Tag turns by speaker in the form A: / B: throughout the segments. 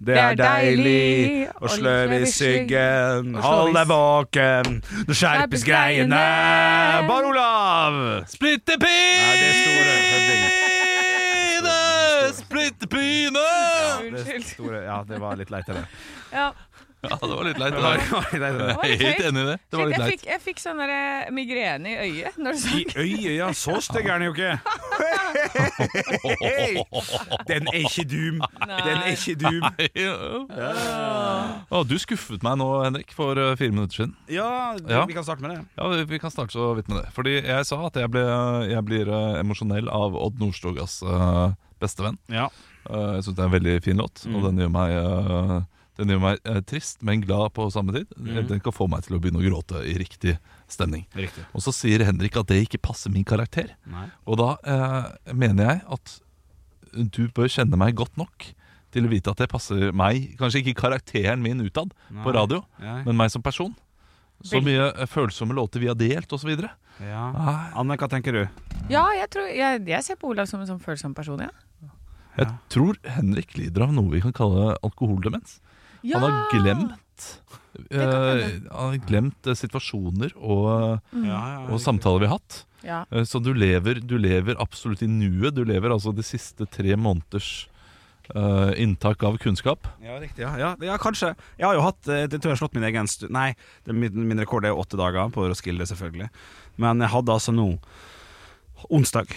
A: det er deilig å sløve i skyggen. Hold deg våken, nå skjerpes greiene. Bar Olav! Nei, det er store høvding.
B: Splittepine!
A: Det er store. Ja, det var litt leit av det.
C: Ja.
B: Ja, det var litt leit.
A: Det
B: Det
A: var-
B: var,
A: det var litt leit av det.
B: jeg er helt enig i det. Det var
C: Shit,
B: litt
C: jeg,
B: leit.
C: fikk, jeg fikk sånn der, eh, migrene i øyet når du sa
A: I øyet, ja. Så stygg er den jo ikke. Den er ikke doom. Den er ikke doom.
B: Å, du skuffet meg nå, Henrik, for eh, fire minutter siden.
A: Ja,
B: Ja.
A: vi kan starte med det.
B: Ja, vi- Vi kan starte så vidt med det. Fordi jeg sa at jeg, ble, jeg blir eh, emosjonell av Odd Nordstogas eh, bestevenn.
A: Ja.
B: Eh, Jeg syns det er en veldig fin låt, og den gjør meg eh, den gjør meg eh, trist, men glad på samme tid. Den kan få meg til å begynne å gråte i riktig stemning.
A: Riktig.
B: Og så sier Henrik at det ikke passer min karakter.
A: Nei.
B: Og da eh, mener jeg at du bør kjenne meg godt nok til å vite at det passer meg, kanskje ikke karakteren min utad på radio,
A: Nei.
B: men meg som person. Så mye eh, følsomme låter vi har delt, osv.
A: Ah, Ja.
B: Jeg
A: Anne, hva tenker du?
C: Ja, jeg, tror, jeg, jeg ser på Olav som en sånn følsom person, ja.
B: tror Henrik lider av noe vi kan kalle alkoholdemens.
C: ja.
B: Han har glemt
C: kan
B: eh,
C: hende.
B: Han har glemt eh, situasjoner og,
A: Ja,
B: og samtaler vi har hatt.
C: Ja.
B: Eh, Så du lever, du lever absolutt i nuet. Du lever altså de siste tre måneders eh, inntak av kunnskap.
A: Ja, riktig. Ja, ja, ja kanskje. Jeg har jo hatt eh, Det tror jeg har slått min egen stu... Nei, det, er min, min rekord er åtte dager på Roskilde, selvfølgelig. Men jeg hadde altså nå onsdag,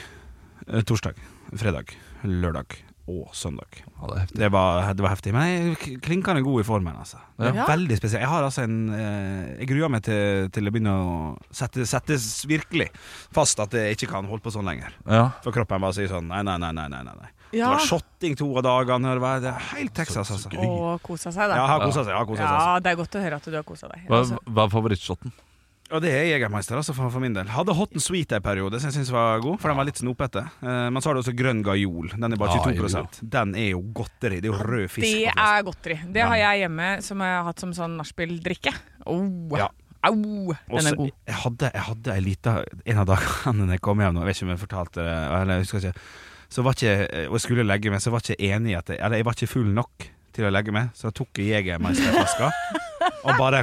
A: eh, torsdag, fredag, lørdag og søndag.
B: Ja, det er heftig.
A: Det var, det var heftig. Men jeg er klinkende god i formen, altså. Det er
C: Ja.
A: Veldig spesiell. Jeg har altså en eh, Jeg gruer meg til, til å begynne å sette, settes virkelig fast at jeg ikke kan holde på sånn lenger.
B: Ja.
A: For kroppen bare sier sånn nei, nei, nei, nei. nei, nei, nei. Det
C: Ja.
A: var shotting to av dagene. og Det var det er helt Texas, altså.
C: Og kosa seg,
A: Ja,
C: da.
A: har kosa seg. Har kosa seg altså.
C: Ja, det er godt å høre at du har kosa deg.
B: Hva,
C: Altså,
B: hva er favorittshoten?
A: Og det er Jegermeister altså, for, for min del. Hadde Hot and Sweet en periode som jeg syns var god, for den var litt snopete. Eh, men så har du også Grønn Gajol. Den er bare
B: Ja,
A: 22
B: jeg
A: Den er jo godteri. Det er jo rød fisk.
C: det
A: på flesk.
C: er godteri. Det har jeg hjemme, som jeg har hatt som sånn nachspiel-drikke. Oh.
A: Ja.
C: Au! Den
A: Også-
C: er god.
A: Jeg hadde, jeg hadde ei lita En av dagene da jeg kom hjem, nå, jeg vet ikke om jeg fortalte det, eller jeg husker ikke Så var ikke Og jeg skulle legge meg, så var ikke jeg enig i at jeg, Eller jeg var ikke full nok til å legge meg, så da tok jeg Jegermeisterflaska og bare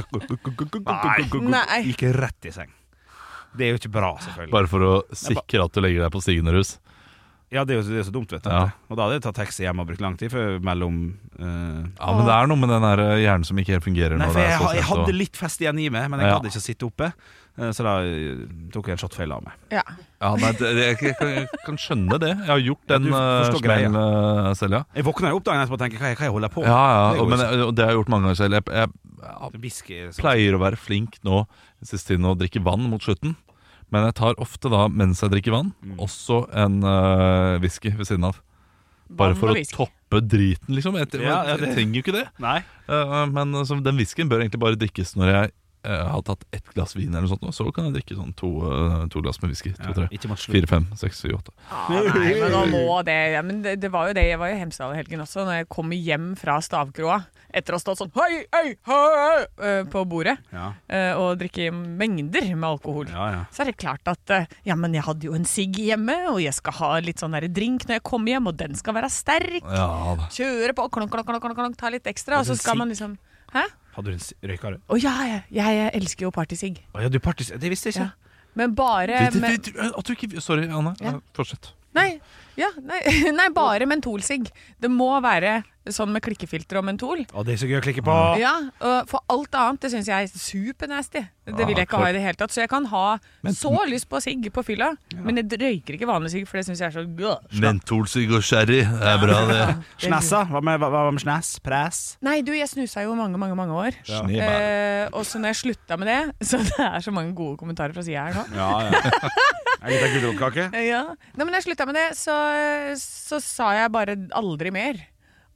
C: Nei.
A: Gikk rett i seng. Det er jo ikke bra, selvfølgelig.
B: Bare for å sikre at du legger deg på Signerhus.
A: Ja, det er jo det er så dumt, vet du.
B: Ja.
A: Og da hadde jeg tatt taxi hjem og brukt lang tid før mellom eh,
B: Ja, men det er noe med den der eh, hjernen som ikke helt fungerer.
A: Nei,
B: når
A: for
B: det er
A: jeg,
B: så
A: ha- jeg
B: sent, og-
A: hadde litt fest igjen i meg, men jeg
B: Ja.
A: hadde ikke å sitte oppe. eh, Så da eh, tok jeg en shot feil av meg.
C: Ja.
B: ja, nei, det, jeg, jeg, kan, jeg kan skjønne det. Jeg har gjort den
A: du
B: eh,
A: forstår greia.
B: smellen eh, selv, ja.
A: Jeg våkna jo opp dagen etterpå og tenkte hva, hva jeg holder på med.
B: Ja, ja,
A: Det går
B: og, men
A: ikke.
B: og det har jeg gjort mange ganger selv. Jeg, jeg,
A: Whisky
B: jeg pleier å være flink nå siste tiden å drikke vann mot slutten. Men jeg tar ofte da, mens jeg drikker vann,
A: Mm.
B: også en eh, whisky ved siden av. Bare
C: Vann og
B: for å
C: whisky.
B: toppe driten, liksom. Jeg, jeg,
A: Ja, ja, det-
B: jeg trenger jo ikke det.
A: Nei.
B: Eh, men så den whiskyen bør egentlig bare drikkes når jeg eh, har tatt ett glass vin, eller noe sånt. Og så kan jeg drikke sånn to, eh, to glass med whisky. To, tre.
A: Ikke mot slutt.
B: Fire, fem, seks, syv, åtte.
C: Ja, nei, men nå må det ja, men det, det var jo det. Jeg var jo i Hemsedal i helgen også, når jeg kom hjem fra stavkroa etter å ha stått sånn hei, hei, hei, eh, på bordet
A: Ja.
C: eh, og drikke mengder med alkohol.
A: Ja, ja.
C: Så er det klart at eh, ja, men jeg hadde jo en sigg hjemme, og jeg skal ha litt sånn der drink når jeg kommer hjem, og den skal være sterk.
B: Ja da.
C: Kjøre på, klonk, klonk, klonk, klonk, klonk, ta litt ekstra, og
A: Altså,
C: så skal
A: sigg.
C: man liksom Hæ?
A: Hadde du en s- røyka, du?
C: Å ja, jeg, jeg, jeg elsker jo partysigg.
A: Å ja, du partis... Det visste jeg
C: Ja.
A: ikke.
C: Men bare
B: Det-
C: med,
B: det- det- at du ikke, sorry, Anne.
C: Ja.
B: Eh, Fortsett.
C: Nei, ja, nei, nei bare mentolsigg. Det må være sånn med klikkefilter og mentol.
A: Å, det er så gøy å klikke på.
C: Ja, og For alt annet det syns jeg er supernasty. Det vil jeg ikke ha i det hele tatt. Så jeg kan ha så lyst på sigg på fylla, men jeg røyker ikke vanlig sigg, for det syns jeg er så gøy.
B: Mentolsig og sherry er bra, det.
A: Snæssa? Hva med, hva- hva med snæs? Press?
C: Nei, du, jeg snusa jo mange, mange mange år.
A: Ja.
B: Snebær.
C: Eh, og så når jeg slutta med det Så det er så mange gode kommentarer fra sida her nå.
A: Ja, ja. En liten gulrotkake?
C: Ja. Nei, men når jeg slutta med det, så, så sa jeg bare aldri mer.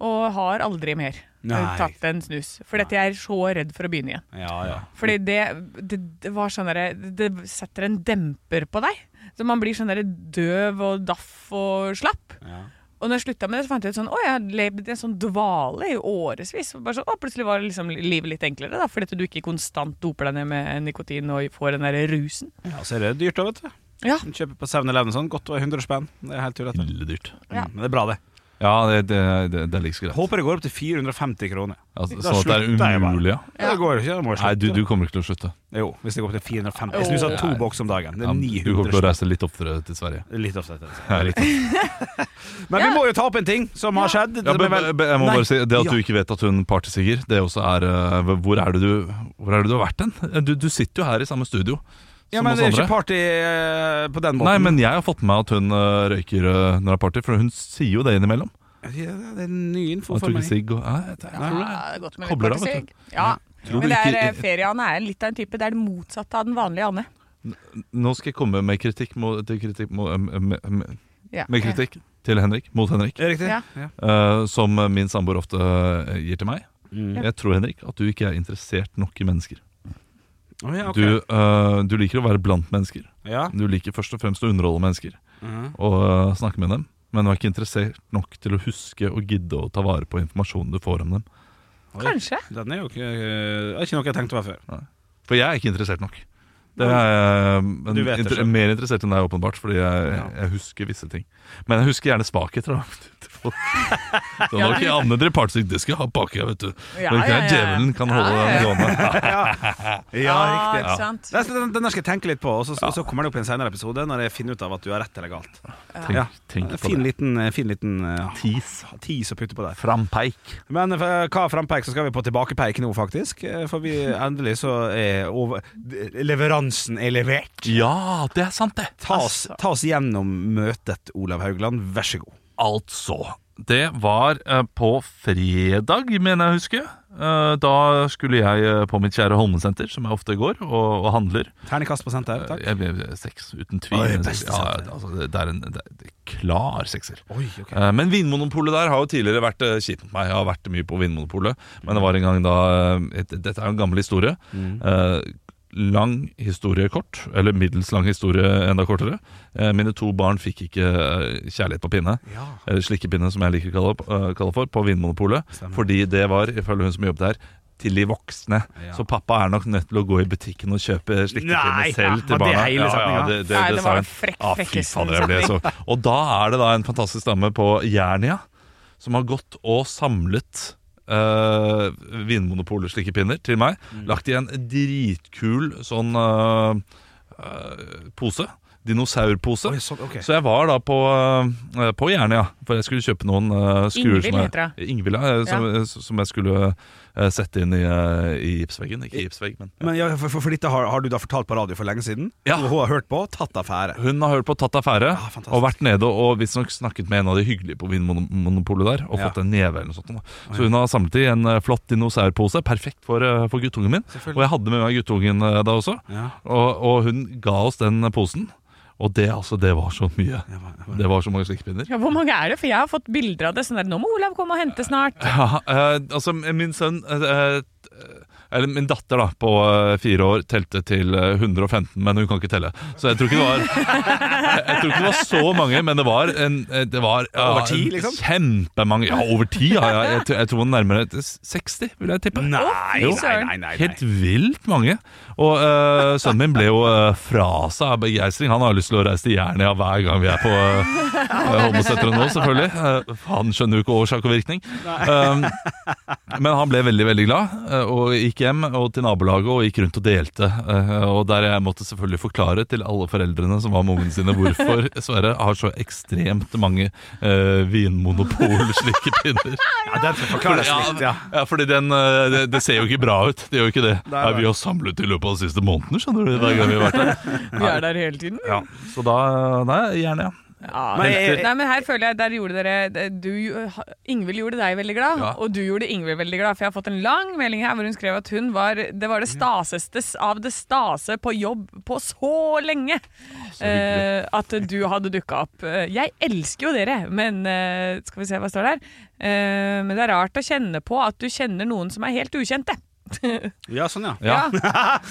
C: Og har aldri mer.
A: Nei.
C: tatt en snus. For dette jeg er så redd for å begynne igjen.
A: Ja, ja.
C: Fordi det, det, det var sånn derre Det setter en demper på deg. Så man blir sånn derre døv og daff og slapp.
A: ja.
C: Og når jeg slutta med det, så fant jeg ut sånn Å, jeg har levd i en sånn dvale i årevis. Og Bare sånn, å, plutselig var liksom livet litt enklere, da. Fordi at du ikke konstant doper deg ned med nikotin og får den derre rusen.
A: ja så er det dyrt da, vet du.
C: Ja.
A: Du Kjøper på 7-Eleven og sånn, godt over 100 spenn. Det er helt tullete.
B: Ille dyrt.
C: Ja.
A: Mm, Men det er bra, det.
B: Ja, det, det, det, det er like så greit.
A: Håper det går opp til 450 kroner.
B: Altså,
A: Da
B: sånn at det er
A: slutter jeg bare.
B: umulig, ja.
A: Ja. Det går jo ikke, da må jeg
B: Nei,
A: slutte.
B: du, du kommer ikke til å slutte.
A: Jo, hvis det går opp til 450. Hvis du sa to
B: Åh.
A: boks om dagen, det
B: Ja,
A: er
B: du kommer til
A: 900
B: å reise litt oftere til Sverige.
A: Litt ofte etter.
B: Ja, litt oftere.
A: Men vi må jo ta opp en ting som har skjedd.
B: Ja, men, men- men jeg må
A: Nei.
B: bare si Det
A: Ja.
B: at du ikke vet at hun partysiger, det også er eh, Hvor er det du, hvor er det du har vært hen? Eh, Du, du sitter jo her i samme studio
A: Ja,
B: som
A: men
B: oss
A: det er jo
B: andre.
A: ikke party eh, på den måten.
B: Nei, men jeg har fått med meg at hun eh, røyker eh, når det er party, for hun sier jo det innimellom.
A: ja, Det er ny info
B: At
A: for
B: du ikke
A: meg.
B: sigg og Nei, det er- jeg tror det.
C: Ja, det er godt med litt
B: Kobler av, vet
C: partisig. Ja.
B: Tror
C: Men
B: du
C: det er,
B: ikke-
C: eh, ferie-Anne er litt av en type. Det er det motsatte av den vanlige Anne.
B: Nå skal jeg komme med kritikk mot, til kritikk mot, eh, med, med,
C: Ja.
B: med kritikk til Henrik, mot Henrik,
A: Er det riktig?
C: Ja.
B: eh, som min samboer ofte eh, gir til meg.
A: Mm.
B: Jeg tror, Henrik, at du ikke er interessert nok i mennesker.
A: Å, ja, ok.
B: Du, eh, du liker å være blant mennesker.
A: ja.
B: Du liker først og fremst å underholde mennesker
A: Mhm.
B: og eh, snakke med dem. Men du er ikke interessert nok til å huske og gidde å ta vare på informasjonen du får om dem.
A: Oi.
C: Kanskje.
A: Den er jo ikke, eh, er ikke noe jeg tenkte over før.
B: For jeg er ikke interessert nok. Det er, eh, men
A: Du vet det
B: inter
A: selv.
B: Mer interessert enn deg, åpenbart, fordi jeg,
A: Ja.
B: jeg husker visse ting. Men jeg husker gjerne svakheter. da. Så nå ikke Anne dere partsik, det skal jeg ha baki, vet du.
C: Ja,
B: Men
C: ja, ja.
B: Djevelen kan holde
C: Ja, ja, ja.
B: den gående.
C: Ja,
B: Ja.
C: ikke sant.
A: Den, Ah, den, den der skal jeg tenke litt på, og så, så kommer det opp i en senere episode når jeg finner ut av at du har rett eller galt.
B: Tenk,
A: Ja.
B: tenk på
A: Fin
B: det.
A: liten, eh, fin liten eh,
B: Tis.
A: tis å putte på der.
B: Frampeik.
A: Men eh, for hva frampeik, så skal vi på tilbakepeik nå, faktisk. Eh, For vi endelig så er over d- Leveransen er levert.
B: Ja, det er sant, det.
A: Ta oss, ta oss gjennom møtet, Olav Haugland. Vær så god.
B: Altså, det var eh, på fredag, mener jeg å huske. Eh, da skulle jeg eh, på mitt kjære Holmensenter, som jeg ofte går, og, og handler.
A: Terningkast på senter, takk.
B: Jeg, jeg, jeg- seks, uten tvil.
A: Oi,
B: Men-
A: beste
B: ja,
A: senter.
B: altså, det, det er en det, er- det er klar sekser.
A: Oi, ok.
B: Eh, Men Vinmonopolet der har jo tidligere vært eh, kjipt mot meg. Jeg har vært mye på Vinmonopolet, men det var en gang da eh, et- Dette er jo en gammel historie.
A: Mm.
B: Eh, Lang historie kort, eller middels lang historie enda kortere. Eh, Mine to barn fikk ikke eh, kjærlighet på pinne,
A: Ja.
B: eller Eh, slikkepinne som jeg liker å kalle, eh, kalle for, på Vinmonopolet.
A: Stemmer.
B: Fordi det var, ifølge hun som jobbet der, til de voksne.
A: Ja.
B: Så pappa er nok nødt til å gå i butikken og kjøpe
A: Nei,
B: slikkepinne selv
A: var det liksom
B: til barna.
A: hele setningen?
B: det,
C: Nei, det
B: sa
C: var liksom.
B: hun.
C: frekk-
B: Ah, fy
C: frekkeste
B: fader, jeg ble så Og da er det da en fantastisk dame på Jernia som har gått og samlet uh, Vinmonopolet slike pinner til meg.
A: Mm.
B: Lagt i en dritkul sånn eh, eh, pose. Dinosaurpose.
A: Oi, sånn, ok.
B: Så jeg var da på, eh, på Jernia, for jeg skulle kjøpe noen eh, skruer
C: Ingvild
B: som jeg-
C: heter
B: Ingvild, ja, eh, som, som jeg skulle eh, sette inn i, eh, i gipsveggen. Ikke gipsvegg, men
A: Men ja, for, for, for dette har, har du da fortalt på radio for lenge siden?
B: Ja.
A: Og hun har hørt på, tatt affære.
B: Hun har hørt på Tatt affære
A: Ah, fantastisk.
B: og vært nede og visstnok snakket med en av de hyggelige på Vinmonopolet der og
A: Ja.
B: fått en neve eller noe sånt. Da. Så hun har samlet i en eh, flott dinosaurpose, perfekt for, eh, for guttungen min.
A: Selvfølgelig.
B: Og jeg hadde med meg guttungen eh, da også,
A: Ja.
B: og, og hun ga oss den posen. Og det, altså, det var så mye. Det var så mange slikkepinner.
C: Ja, hvor mange er det? For jeg har fått bilder av det. Sånn der, nå må Olav komme og hente snart.
B: Ja, eh, altså min sønn eh, eh, Eller min datter da på eh, fire år telte til eh, 115, men hun kan ikke telle. Så jeg tror ikke det var Jeg, jeg tror ikke det var så mange, men det var, en, eh, det var ja,
A: Over ti, liksom?
B: Kjempemange. Ja, over ti. Ja, ja, jeg, tror- jeg tror nærmere 60, vil jeg tippe.
A: Nei,
B: Jo.
A: nei, nei, nei,
B: Helt
A: nei.
B: vilt mange. Og eh, sønnen min ble jo eh, fra seg av begeistring. Han har lyst til å reise til Jernia hver gang vi er på uh, Holmeseter nå, selvfølgelig. Eh, han skjønner jo ikke årsak og virkning. Um, men han ble veldig, veldig glad, eh, og gikk hjem og til nabolaget og gikk rundt og delte. eh, og der jeg måtte selvfølgelig forklare til alle foreldrene som var med ungene sine, hvorfor Sverre har så ekstremt mange uh, vinmonopol-slike pinner.
A: Ja, den skal forklares litt, ja.
B: Ja, fordi den, eh, det, det ser jo ikke bra ut. Det gjør jo ikke det.
A: Nei, nei.
B: Nei, vi har samlet i løpet av de siste månedene, skjønner du. Hver gang vi har vært der.
C: Vi er der hele tiden.
B: Så da Nei, gjerne, ja.
C: Ja,
A: Men jeg-
C: Nei, men her føler jeg der gjorde dere du, Ingvild gjorde deg veldig glad,
B: Ja.
C: og du gjorde Ingvild veldig glad. For jeg har fått en lang melding her hvor hun skrev at hun var det var det
A: Mm.
C: staseste av det stase på jobb på så lenge eh, at du hadde dukka opp. Eh, Jeg elsker jo dere, men eh, skal vi se hva står der. Eh, men det er rart å kjenne på at du kjenner noen som er helt ukjente.
A: Ja, sånn, ja.
B: Ja.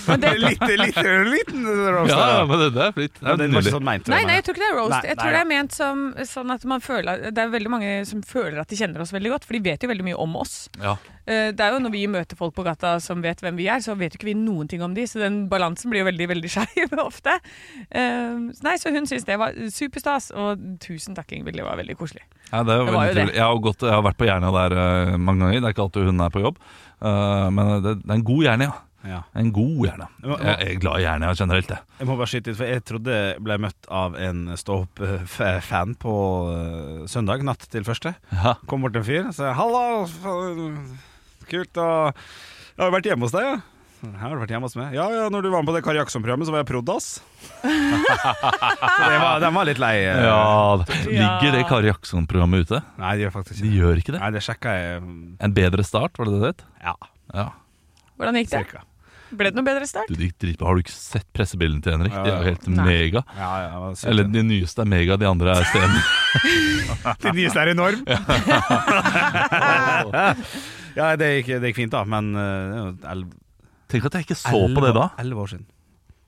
C: Men det,
A: Litt, litt, liten roast der,
B: Ja,
A: da.
B: men det, det er flitt. Det
A: Men
B: er
A: den var ikke
B: nydelig.
A: sånn meint.
C: Nei, nei, jeg tror ikke det er roast.
A: Nei,
C: jeg
A: nei
C: tror det
A: da.
C: er ment som sånn at man føler Det er veldig mange som føler at de kjenner oss veldig godt, for de vet jo veldig mye om oss.
B: Ja.
C: Eh, Det er jo Når vi møter folk på gata som vet hvem vi er, så vet jo ikke vi noen ting om de, så den balansen blir jo veldig veldig skeiv ofte. Eh, så Nei, Så hun syns det var superstas, og tusen takk, Ingvild. Det var veldig koselig.
B: Ja, det var
C: Det var jo det.
B: veldig trivelig. Jeg har, gått, jeg har vært på Jernia der eh, mange ganger. Det er ikke alltid hun er på jobb, Eh, men det, det er en god Jernia.
A: Ja.
B: En god Jernia.
A: Hva- hva-
B: Jeg er glad i Jernia generelt, jeg.
A: Jeg må bare skyte ut, for jeg trodde jeg ble møtt av en stå-opp-fan på eh, søndag, natt til første.
B: Ja.
A: Kom bort en fyr og sa 'halla, faen, kult å Jeg har vært hjemme hos deg, ja. «Ja, Har du vært hjemme hos meg? Ja, ja, når du var med på det Kari Jackson-programmet, så var jeg prodd, ass. så det var, den var litt lei. eh.
B: Ja, da. Ligger
C: Ja.
B: det Kari Jackson-programmet ute?
A: Nei, det gjør faktisk
B: De
A: ikke det.
B: gjør ikke det.
A: Nei, det sjekka jeg mm,
B: En bedre start, var det det det het?
A: Ja,
B: Ja.
C: Hvordan gikk det?
A: cirka.
C: Ble det noe bedre start?
B: Du, de dritbra. Har du ikke sett pressebildene til Henrik? De er jo helt
C: Nei.
B: mega.
A: Ja, ja, det var sykt.
B: Eller de nyeste er mega, de andre er sten.
A: De nyeste er enorm. ja, det gikk, det gikk fint, da, men eh,
B: Tenk at jeg ikke så på det da.
A: Elleve år siden.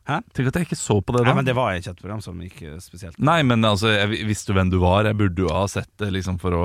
B: Tenk at jeg ikke så på det
A: Nei,
B: da.
A: men det var ikke et program som gikk eh, spesielt.
B: Nei, men altså, jeg vi- visste jo hvem du var. Jeg burde jo ha sett det liksom for å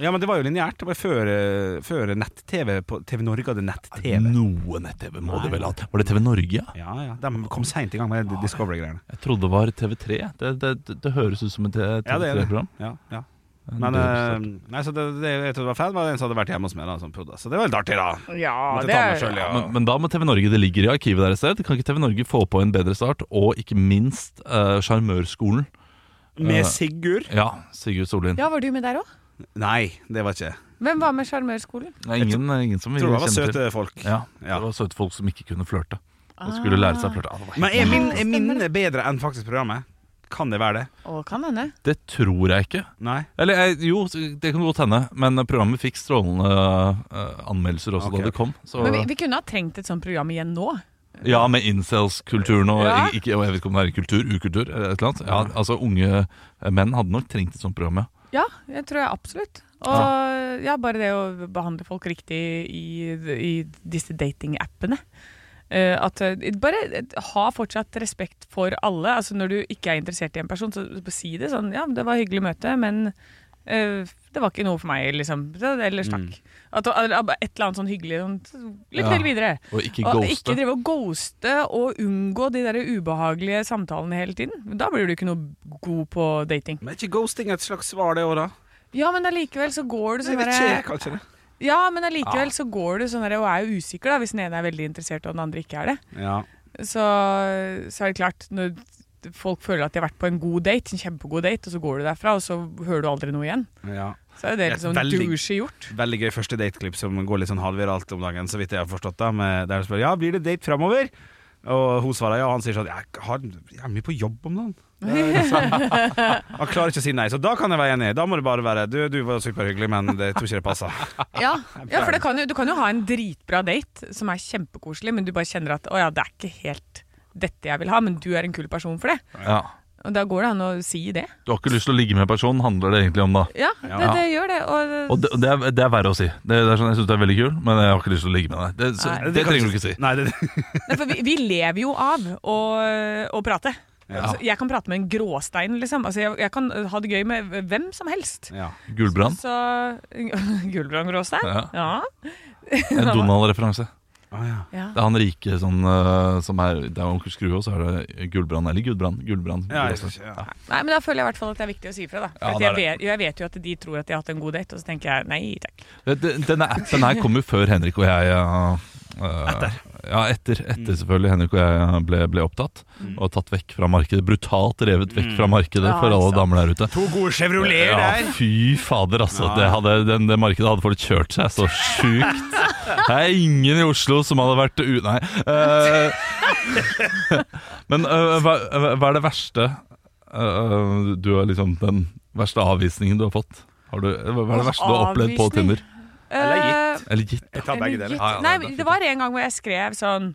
A: Ja, men det var jo lineært. Det var før, eh, før nett-TV. på- TV Norge hadde nett-TV.
B: Noe nett-TV må du vel ha hatt. Var det TV Norge, ja?
A: Ja, ja. De kom seint i gang med de Discovery-greiene.
B: Jeg trodde det var TV3. Det, det, det, det høres ut som et
A: Ja, det er det.
B: TV3-program.
A: Ja, ja. Men eh, nei, så det, det jeg trodde var fan, var en som hadde vært hjemme hos meg. da som prodda. Så det var litt artig, da.
C: Ja,
A: Måtte
C: det
A: ta med
C: er
A: selv, ja.
B: men, men da må TV Norge, det ligger i arkivet der et sted. Kan ikke TV Norge få på en bedre start? Og ikke minst eh, Sjarmørskolen. Eh,
A: Med Sigurd?
B: Ja, Sigurd Sollien.
C: Ja, var du med der òg?
A: Nei, det var ikke
C: Hvem var med Sjarmørskolen?
B: Det er ingen, ingen som vi
A: Tror det var
B: kjenner til.
A: søte folk.
B: Ja,
A: Ja.
B: Det var søte folk som ikke kunne flørte. Og skulle lære
C: Ah,
B: seg å flørte. Ja, det var
A: Men er, min, er
C: stemmer
A: minnene bedre enn faktisk programmet? Kan det være det?
C: Å, kan hende.
B: Det tror jeg ikke.
A: Nei?
B: Eller jeg, jo, det kan godt hende, men programmet fikk strålende eh, anmeldelser også
A: Ok,
B: da det kom. Så,
C: Men vi, vi kunne ha trengt et sånt program igjen nå.
B: ja, med incels-kulturen og,
C: Ja.
B: ikke, og jeg vet ikke om det er kultur, ukultur, eh, et eller annet. Ja, altså Unge menn hadde nok trengt et sånt program, ja.
C: Ja, jeg tror jeg absolutt. Og ja, bare det å behandle folk riktig i, i disse datingappene. Eh, at eh, Bare eh, ha fortsatt respekt for alle. Altså Når du ikke er interessert i en person, så si det sånn Ja, det var hyggelig møte, men eh, det var ikke noe for meg, liksom. Det- Ellers takk. At, eller, et eller annet sånn hyggelig. Sånn, lykke
B: Mm. Ja.
C: til videre.
B: Og ikke
C: Og
B: ghoste.
C: ikke drive og ghoste og unngå de der ubehagelige samtalene hele tiden. Da blir du ikke noe god på dating.
A: Men er ikke ghosting et slags svar, det òg, da?
C: Ja, men allikevel så går du
A: Jeg
C: sånn
A: vet
C: derre-
A: ikke, kanskje det.
C: Ja, men allikevel så går du sånn der og er jo usikker da, hvis den ene er veldig interessert og den andre ikke er det.
A: Ja.
C: Så, så er det klart, når folk føler at de har vært på en god date, en kjempegod date, og så går du derfra, og så hører du aldri noe igjen.
A: ja.
C: Så er jo det
A: Det er
C: liksom
A: veldig-
C: douche gjort.
A: Veldig gøy første dateklipp som går litt sånn halvviralt om dagen, så vidt jeg har forstått det. Med, der de spør ja, blir det date framover? Og hun svarer ja, og han sier sånn jeg har jeg er mye på jobb om dagen. Det er Liksom. Han klarer ikke å si nei, så da kan jeg være enig. Da må det bare være du, du var superhyggelig, men det tror ikke det passer.
C: Ja, ja for det kan jo, du kan jo ha en dritbra date som er kjempekoselig, men du bare kjenner at å ja, det er ikke helt dette jeg vil ha, men du er en kul person for det.
B: Ja.
C: Og da går det an å si det.
B: Du har ikke lyst til å ligge med personen, handler det egentlig om da.
C: Ja, det,
A: Ja.
C: det gjør det. Og,
B: Og det, det, er, det er verre å si. Det, det er sånn, Jeg syns du er veldig kul, men jeg har ikke lyst til å ligge med deg. Det, så,
C: Nei.
B: det, trenger du ikke si.
A: Nei, det,
C: Nei, for vi, vi lever jo av å, å prate. Altså, jeg kan prate med en gråstein, liksom. Altså, jeg, jeg kan ha det gøy med hvem som helst.
A: ja.
B: Gulbrand.
C: Så Gulbrand Gråstein?
B: Ja.
C: Ja.
B: En Donald-referanse.
A: Ah, ja.
C: ja.
B: Det er han rike sånn, eh, som er Det er Onkel Skrue, og så er det Gulbrand. Eller Gudbrand. Gulbrand.
A: Ja, jeg,
B: Gulbrand.
A: ja.
C: Nei, men da føler jeg i hvert fall at det er viktig å si ifra, da. For
B: Ja,
C: at
B: det er
C: jeg, vet, jeg vet jo at de tror at de har hatt en god date, og så tenker jeg nei takk.
B: Det- det- Denne appen her kom jo før Henrik og jeg Etter. Ja, etter,
A: Mm.
B: etter selvfølgelig. Henrik og jeg ble, ble opptatt og tatt vekk fra markedet. Brutalt revet
A: Mm.
B: vekk fra markedet
C: Ja,
B: for alle
C: ikke sant.
B: damer der ute.
A: To gode chevroleter der.
B: Ja, fy fader, altså. Det, hadde, den, det markedet hadde folk kjørt seg så sjukt. Det er ingen i Oslo som hadde vært u... eh, Nei. Eh, men eh, hva, hva er det verste eh, du er liksom den verste avvisningen du har fått? Har du, hva er det verste du har opplevd på
C: Avvisning? Eh,
B: Tinder?
C: Eller gitt.
B: Eller gitt?
A: Jeg tar begge deler.
B: Ja, ja,
C: Nei,
B: det er fint,
C: det var en gang hvor jeg skrev sånn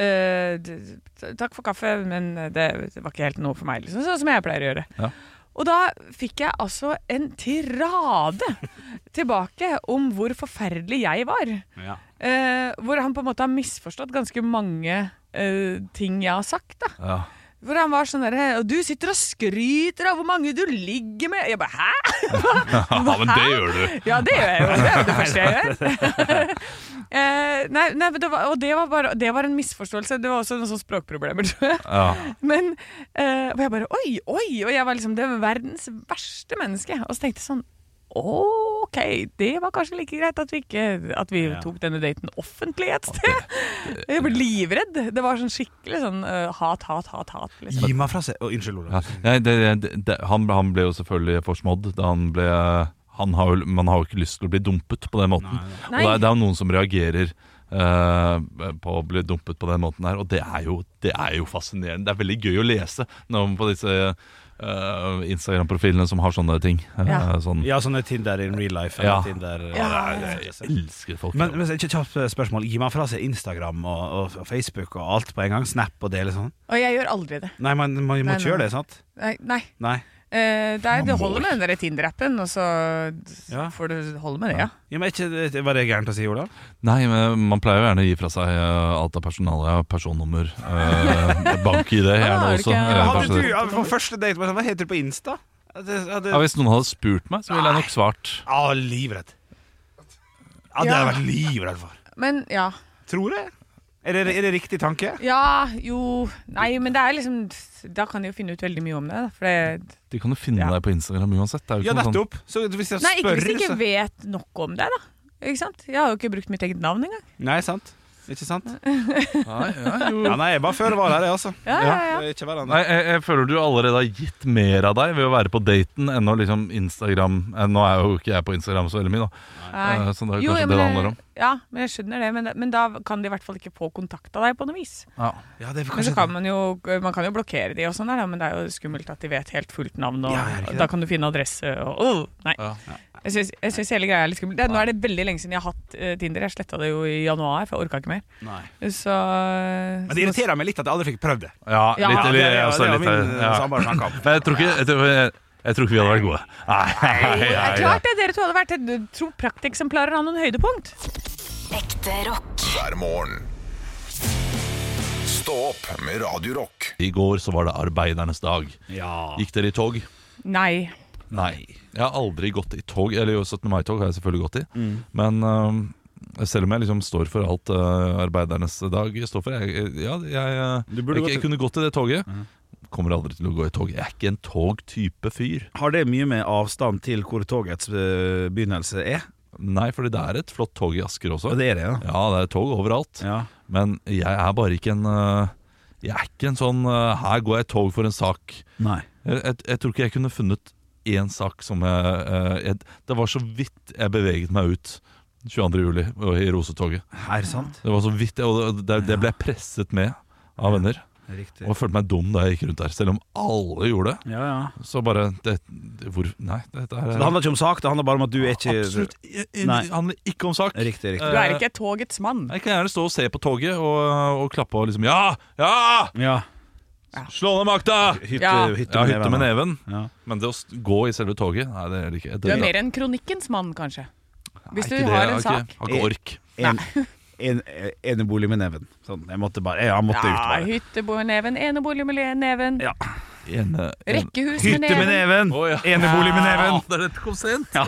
C: eh, d- d- Takk for kaffe, men øh, det var ikke helt noe for meg, liksom. Sånn som jeg pleier å gjøre.
B: Ja.
C: Og da fikk jeg altså en tirade tilbake om hvor forferdelig jeg var.
A: Ja.
C: Eh, hvor han på en måte har misforstått ganske mange eh, ting jeg har sagt. da
B: Ja.
C: Hvor han var sånn derre Og du sitter og skryter av hvor mange du ligger med. Jeg bare hæ?
B: ja, men det gjør du.
C: Ja, det gjør jeg jo. Det er jo det første jeg gjør. Eh, nei, nei, men det var, og det var, bare, det var en misforståelse. Det var også noen sånne språkproblemer, tror jeg.
B: Ja.
C: Men eh, og jeg bare oi, oi! Og jeg var liksom det verdens verste menneske. Og så tenkte jeg sånn OK, det var kanskje like greit at vi ikke At vi
A: Ja.
C: tok denne daten offentlig et sted. Jeg ble livredd. Det var sånn skikkelig sånn eh, hat, hat, hat, hat. Liksom.
A: Gi meg fra seg Å, Unnskyld,
B: Ja.
A: Olav.
B: Nei, det, det, det, han, han ble jo selvfølgelig forsmådd da han ble han har, jo- Man har jo ikke lyst til å bli dumpet på den måten. Og
C: Nei.
B: det, er- det er jo noen som reagerer eh, på å bli dumpet på den måten her, og det er jo, det er jo fascinerende. Det er veldig gøy å lese når man på disse eh, Instagram-profilene som har sånne ting. Eh,
C: Ja.
B: sånn,
A: Ja, sånne Tinder in real life. eller
B: Ja.
A: Tinder,
C: Ja,
A: Nei, det er-
B: jeg elsker folk.
A: Men, men ikke kjapt eh, spørsmål. Gi meg fra seg Instagram og, og, og Facebook og alt på en gang. Snap og dele sånn.
C: Og jeg gjør aldri det.
A: Nei, man, man må
C: Nei,
A: ikke
C: nei.
A: gjøre det, sant?
C: Nei. nei.
A: Nei.
C: Eh, det, er, det holder med den der Tinder-appen, og så
A: Ja.
C: får du holde med det, ja.
A: Ja, men ikke, det- var det gærent å si, Olav?
B: Nei, men man pleier jo gjerne å gi fra seg eh, alt av personalia, personnummer, uh, bank-ID gjerne
C: Ah, er det
B: også.
C: ikke-
B: eh,
C: Hadde
B: kanskje
C: du-
B: det.
A: ja, på første date var det sånn, Hva heter du på Insta? Ja, det- ja, det-
B: Ja, hvis noen hadde spurt meg, så ville jeg nok svart
A: Ja, livredd. Ja, det
C: Ja.
A: har jeg vært livredd for.
C: Men ja.
A: Tror jeg. Er det, er det riktig tanke?
C: Ja, jo Nei, men det er liksom Da kan de jo finne ut veldig mye om det. da, For det
B: De kan jo finne
C: Ja.
B: deg på Instagram uansett. Det er jo
A: Ja,
B: ikke noe sånn
A: nettopp. Så hvis jeg spør
C: nei, ikke hvis de ikke
A: så-
C: vet nok om deg, da. Ikke sant? Jeg har jo ikke brukt mitt eget navn engang.
A: Nei, sant? Ikke sant?
B: Nei, sånn- ja, jo.
A: Ja, nei, jeg bare før var her, jeg, altså.
C: Mm. Ja, ja, ja.
A: Det er Ikke verre enn
B: Nei,
A: det.
B: jeg, jeg føler du allerede har gitt mer av deg ved å være på daten enn å liksom Instagram eh, Nå er jo ikke jeg på Instagram så veldig mye, da.
C: Nei.
B: Eh, Så det er jo
C: Jo, ja,
B: kanskje det
C: men,
B: det handler om.
C: Ja, men jeg skjønner det. Men, men da kan de i hvert fall ikke få kontakt av deg på noe vis.
B: Ja.
A: Ja, det
C: Men
A: er
C: så
A: kanskje
C: kan man jo Man kan jo blokkere de og sånn, der, da, men det er jo skummelt at de vet helt fullt navn, og
A: Ja, er det ikke det?
C: da kan du finne adresse og åh, Nei.
B: Ja.
C: Jeg syns- Jeg syns hele greia er litt skummel. Det, nå er det veldig lenge siden jeg har hatt eh, Tinder. Jeg sletta det jo i januar, for jeg orka ikke mer.
A: Nei.
C: Så
A: Men det irriterer meg litt at jeg aldri fikk prøvd det.
B: ja,
C: Ja,
B: litt,
A: Ja,
B: eller
A: det er-
B: jeg også
A: det er
B: litt
A: min,
B: ja.
A: eh, samboer snakket om.
B: Men jeg tror ikke jeg tror, jeg, jeg tror ikke vi hadde vært gode. Nei, nei,
C: Det er
B: nei,
C: klart det, dere to hadde vært jeg tror prakteksemplarer av noen høydepunkt.
D: Ekte rock.
E: hver morgen. Stå opp med Radio Rock.
B: I går så var det arbeidernes dag.
A: Ja.
B: Gikk dere i tog?
C: Nei.
B: Nei. Jeg har aldri gått i tog. Eller jo, 17. mai-tog har jeg selvfølgelig gått i.
A: Mm.
B: Men øhm, selv om jeg liksom står for alt øh, arbeidernes dag står for jeg, jeg- Ja, jeg, øh,
A: Du burde gått
B: jeg,
A: i- Mhm.
B: jeg kunne gått i det toget. Kommer aldri til å gå i tog. Jeg er ikke en togtype fyr.
A: Har det mye med avstand til hvor togets eh, begynnelse er?
B: Nei, fordi det er et flott tog i Asker også.
A: Og det er det, ja.
B: Ja, det er tog overalt.
A: ja.
B: Men jeg er bare ikke en øh, Jeg er ikke en sånn øh, Her går jeg i tog for en sak.
A: Nei.
B: Jeg, jeg, jeg tror ikke jeg kunne funnet én sak som jeg, eh, jeg Det var så vidt jeg beveget meg ut 22. juli og i rosetoget.
A: Er det sant?
B: Det var så vidt jeg, og det, det ble jeg presset med av venner.
A: Riktig.
B: Og jeg følte meg dum da jeg gikk rundt der. Selv om alle gjorde det,
A: Ja, ja.
B: så bare det, det, Hvor Nei, dette her
A: Så
B: er
A: det handler ikke om sak, det handler bare om at du er ikke
B: absolutt i- i-
A: Nei.
B: Det handler ikke om sak.
A: Riktig, riktig.
B: Eh,
C: Du er ikke togets mann.
B: Jeg kan gjerne stå og se på toget og, og klappe og liksom Ja! Ja!
A: Ja.
B: Slå ned makta!
A: Hytte,
C: Ja.
A: hytte,
B: Ja, hytte med
A: neven.
B: neven.
A: Ja.
B: Men det å st- gå i selve toget, nei, det er det ikke. Det,
C: Du er mer en kronikkens mann, kanskje. Hvis
B: Nei,
C: du
B: ikke det.
C: har en
B: Jeg har ikke-
C: sak.
B: Har ikke ork.
A: En, en, enebolig med neven. Sånn, jeg måtte bare Jeg måtte ut
C: Ja,
A: bare.
C: hytteboneven, enebolig med neven,
A: Ja.
B: Ene, en,
C: rekkehus med
A: Hytte med
C: neven.
A: neven!
B: Å, ja.
A: Enebolig med neven!
B: dette kom sent.
C: Ja.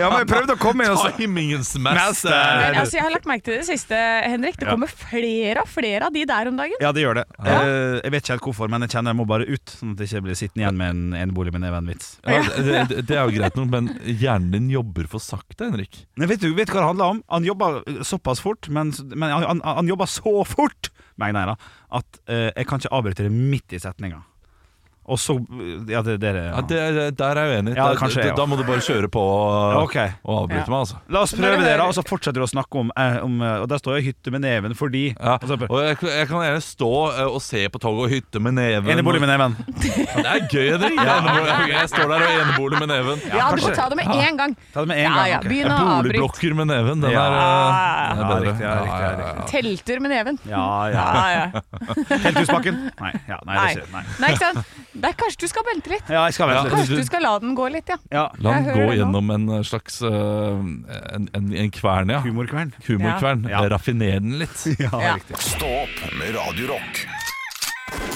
A: Ja, men jeg prøvde å komme inn og
B: Ta
A: så
B: himmelens
A: Mester.
B: mester.
C: Men, altså, jeg har lagt merke til det siste, Henrik. Det kommer flere og flere av de der om dagen.
A: Ja, det gjør det. Eh, Jeg vet ikke helt hvorfor, men jeg kjenner jeg må bare ut. Sånn at jeg ikke blir sittende igjen med en enebolig med neven-vits.
B: Ja, det, det, det er jo greit nok, men hjernen din jobber for sakte, Henrik.
A: Men vet du vet du hva det handler om? Han jobba såpass fort, men, men han, han, han jobba så fort, mener jeg, da, at eh, jeg kan ikke avbryte det midt i setninga. Og så Ja, det det er det.
B: Ja, det, det- der er jeg uenig.
A: Ja,
B: Da-
A: kanskje jeg
B: da, da må du bare kjøre på og,
A: Ok.
B: og avbryte
C: Ja.
B: meg, altså.
A: La oss
C: Når du
A: prøve det, da,
C: hører-
A: og så fortsetter du å snakke om, eh, om eh, Og der står jeg i hytte med neven fordi
B: Ja.
A: og så bare,
B: Og jeg, jeg kan gjerne stå eh, og se på toget og hytte med neven.
A: Enebolig med neven.
B: Det er gøy, Henrik. Enebolig- Jeg står der og enebolig med neven.
A: Ja,
F: Ja, du
A: kanskje.
F: får ta det med én gang.
A: Ta det med en
F: Ja,
A: gang.
F: ja,
A: ok.
F: begynn å avbryte.
B: Boligblokker med neven, den
A: Ja.
B: er, eh, den
A: Ja,
B: er bedre.
A: riktig, ja, riktig, ja, riktig.
F: Telter med neven.
A: Ja, ja.
C: Ja, ja.
A: Telthusbakken? Nei. Ja, nei, det
C: Nei.
A: skjer, nei.
F: Nei, ikke sant? Der kanskje du skal vente litt.
A: Ja, jeg skal vente litt.
F: Kanskje du skal la den gå litt, ja.
A: Ja.
B: La den
F: Jeg
B: gå
F: hører det nå.
B: gjennom en eh, slags eh, en, en, en kvern, ja.
A: Humorkvern.
B: Humorkvern.
A: Ja. Ja.
B: Raffiner den litt.
A: Ja,
C: Ja.
A: riktig.
E: Stå opp med Radio Rock.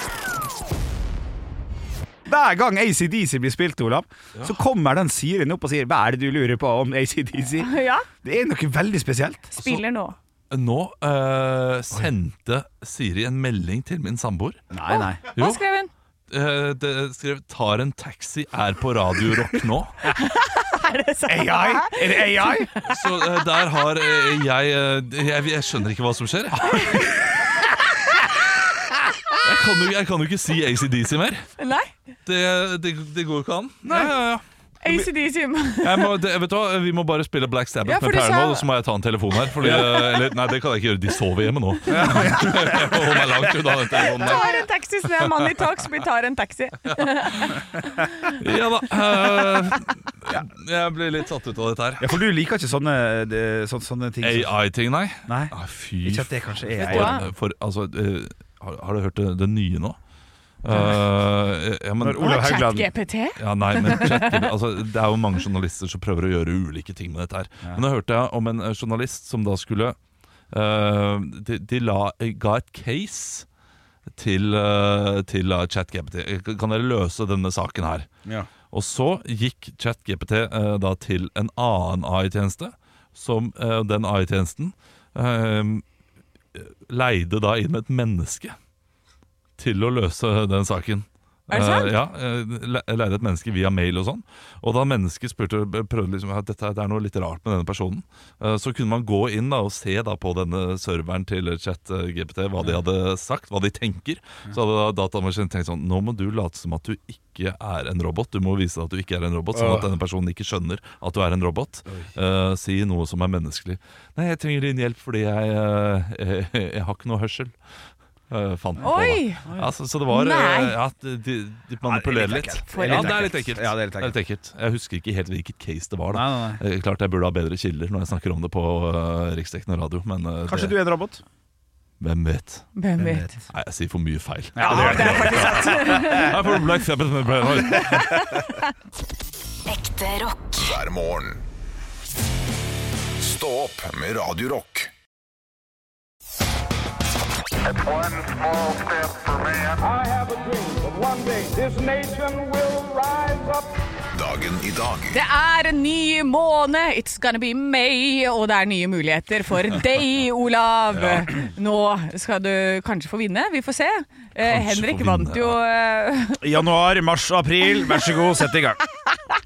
A: Hver gang ACDC blir spilt, Olav, så kommer den Siren opp og sier 'Hva er det du lurer på om ACDC?'
C: ja.
A: Det er noe veldig spesielt.
C: Spiller nå.
B: Nå eh, sendte Siri en melding til min samboer.
A: Nei, nei.
B: Jo.
C: Hva skrev hun?
B: Eh, det skrev 'Tar en taxi, er på Radio Rock nå'.
A: AI? Er det AI?
B: Så eh, der har eh, jeg, eh, jeg Jeg skjønner ikke hva som skjer. Jeg, jeg, kan, jo, jeg kan jo ikke si ACDC mer.
C: Nei.
B: Det, det, det går jo ikke an. Ja, ja, ja.
C: ACDC.
B: Jeg må, det, vet du hva, Vi må bare spille Black Sabbath
C: Ja, for
B: med
C: du
B: Perna,
C: sa-
B: og så må jeg ta en telefon her. Fordi, eh, eller, nei, det kan jeg ikke gjøre. De sover hjemme nå. Jeg må holde meg langt unna den telefonen. der.
C: Tar en taxi, så det er Money Talks. Vi tar en taxi.
B: Ja da. eh, jeg blir litt satt ut av dette her.
A: Ja, for du liker ikke sånne, det- så, sånne ting? som-
B: AI-ting, nei.
A: Nei.
B: Ah, fy
A: Ikke at det kanskje er
B: for,
A: AI.
C: hva?
B: for, altså, eh, har, har du hørt det, det nye nå? Eh, ja, men,
A: Når Olav Haugland
C: ChatGPT?
B: ja, nei, men chat, altså, Det er jo mange journalister som prøver å gjøre ulike ting med dette her. Men da hørte jeg om en eh, journalist som da skulle eh, De, de la, eh, ga et case til, uh, til eh, ChatGPT. Kan dere løse denne saken her?
A: ja.
B: Og så gikk ChatGPT eh, da til en annen AI-tjeneste, som eh, den AI-tjenesten eh, leide da inn et menneske til å løse den saken.
C: Er det sant?
B: Eh, ja, eh, le- leide et menneske via mail og sånn. Og da mennesket spurte, prøvde liksom at dette, det er noe litt rart med denne personen, eh, så kunne man gå inn da og se da på denne serveren til ChatGPT hva de hadde sagt, hva de tenker. Så hadde da datamaskinen tenkt sånn Nå må du late som at du ikke er en robot. Du må vise at du ikke er en robot, sånn at denne personen ikke skjønner at du er en robot. Eh, si noe som er menneskelig. Nei, jeg trenger din hjelp fordi jeg, eh, jeg, jeg har ikke noe hørsel. Eh, fant den på, da.
C: Oi!
B: Ja, så, så det var eh,
C: Nei.
B: Ja, de, de manipulerer litt.
A: Det er litt
B: Ja, det er litt
A: ekkelt.
B: ekkelt.
A: Ja, det er litt ekkelt.
B: Jeg husker ikke helt hvilket case det var. da
A: Nei, nei, nei.
B: Eh, Klart jeg burde ha bedre kilder når jeg snakker om det på uh, riksdekkende radio, men eh,
A: Kanskje
B: det,
A: du er en robot?
B: hvem vet?
C: Hvem vet?
B: Nei, jeg sier for mye feil.
A: Ja, det er det.
B: Nei, for Black Sabbath med Brian Hoy.
D: Ekte rock.
E: hver morgen. Stå opp med Radio Rock.
G: One small step for man. I have a dream that one day this nation will rise up.
E: Dagen i dag
C: Det er en ny måned, it's gonna be May, og det er nye muligheter for deg, Olav. Nå skal du kanskje få vinne, vi får se. Eh,
B: Kanskje
C: Henrik
B: få vinne,
C: vant jo eh,
A: Januar, mars, april. Vær så god, sett i gang.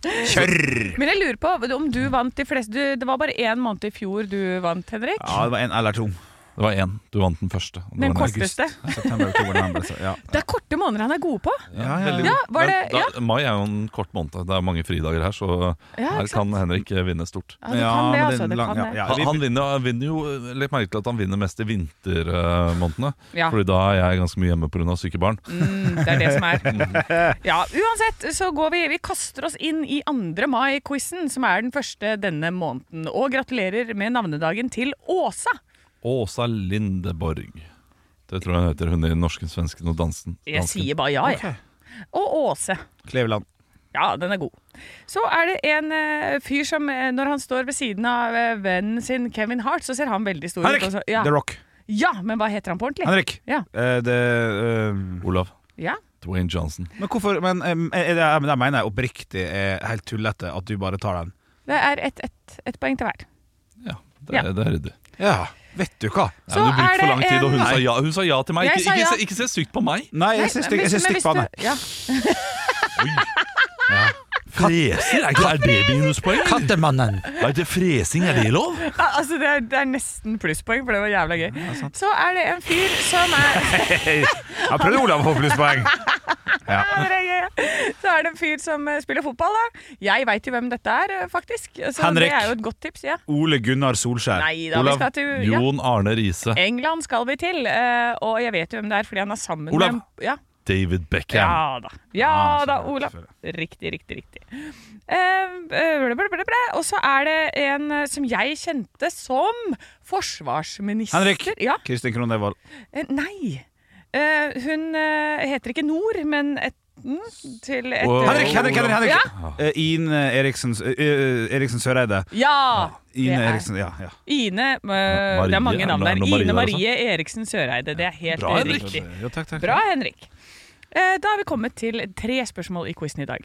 A: Kjør!
C: Men jeg lurer på om du vant de fleste du, Det var bare én måned i fjor du vant, Henrik.
A: Ja, det var en eller to.
B: Det var én. Du vant den første. og det
C: Den
B: var i august.
C: korteste.
A: September, oktober, november. så- Ja.
C: Det er korte måneder han er god på.
B: Ja,
A: veldig
C: Ja, var det-
B: Men da, Mai er jo en kort måned. Det er mange fridager her, så
C: Ja,
B: her
C: ikke sant?
B: kan Henrik eh, vinne stort.
C: Ja, det kan det,
A: men
C: altså. Det
A: lang-
C: kan
A: ja,
C: det.
A: ja,
B: Han,
A: vi-
B: han vinner, han vinner jo eh, litt merkelig at han vinner mest i vintermånedene.
C: Ja.
B: Fordi da er jeg ganske mye hjemme pga. syke barn.
C: Mm, det er det som er. Ja, uansett så går vi Vi kaster oss inn i 2. mai-quizen, som er den første denne måneden. Og gratulerer med navnedagen til Åsa.
B: Åsa Lindeborg. Det tror jeg hun heter, hun i norsken, svensken og dansen.
C: Jeg
B: dansken.
C: sier bare ja, jeg. Og Åse.
A: Kleveland.
C: Ja, den er god. Så er det en eh, fyr som eh, når han står ved siden av eh, vennen sin Kevin Hart, så ser han veldig stor
A: Henrik!
C: ut. og så- Ja.
A: The Rock.
C: ja, men hva heter han på ordentlig?
A: Henrik.
C: Ja.
A: Eh, det, eh,
B: Olav.
C: Ja.
B: Dwayne Johnson.
A: men hvorfor Men eh, er det, men det mener jeg oppriktig er helt tullete at du bare tar den.
C: Det er ett et, et poeng til hver.
B: Ja, det,
C: Ja.
B: er- det er ryddig.
A: Ja, vet du hva?
B: Ja, men du brukte for lang tid, og hun
C: en-
B: sa ja, hun sa ja til meg.
C: Jeg
B: Ikke,
C: sa
B: ikke,
C: ja.
B: se- ikke se stygt på meg!
A: Nei,
C: Nei,
A: jeg syns
C: men-
A: jeg syns
C: men
A: stikk
C: hvis
A: på henne.
C: du- Ja.
B: Freser? Er, ikke- er det minuspoeng?
A: Kattemannen.
B: Er det fresing? Er det lov?
C: Ja, altså det, er, det er nesten plusspoeng, for det var jævla gøy. så er det en fyr som er
A: Jeg prøvde Olav å få plusspoeng. Ja.
C: Så er det en fyr som eh, spiller fotball, da. Jeg veit jo hvem dette er, eh, faktisk. Så
A: Henrik.
C: det er jo et godt tips. ja.
A: Ole Gunnar Solskjær.
C: Nei da, vi
B: Olav
C: skal til ja. Eh.
B: Jon Arne Riise.
C: England skal vi til, eh, og jeg vet jo hvem det er fordi han er sammen
B: Olav.
C: med ja.
B: David Beckham.
C: ja da. Ja
A: Ah,
C: da,
A: så det er
C: Olav.
A: selvfølgelig.
C: Riktig, riktig, riktig. Eh, eh, ble, ble, ble, ble. Og så er det en eh, som jeg kjente som forsvarsminister.
A: Henrik.
C: Ja.
A: Kristin Krohn Devold.
C: Eh, nei. Eh, hun eh, heter ikke Nord, men et, mm, til et
B: Wow.
A: Henrik, Henrik, Henrik! Henrik.
C: Ja.
A: Eh, Ine Eriksen, eh, Eriksen Søreide.
C: Ja!
A: Ine
C: det er-
A: Eriksen, ja, ja.
C: Ine eh, Det er mange navn
B: er det
C: der.
B: noe Marie
C: Ine
B: der
C: Marie Eriksen Søreide. Det er helt
B: Bra, Henrik.
C: riktig.
A: Ja, takk, takk.
C: Bra, Henrik. Eh, Da har vi kommet til tre spørsmål i quizen i dag.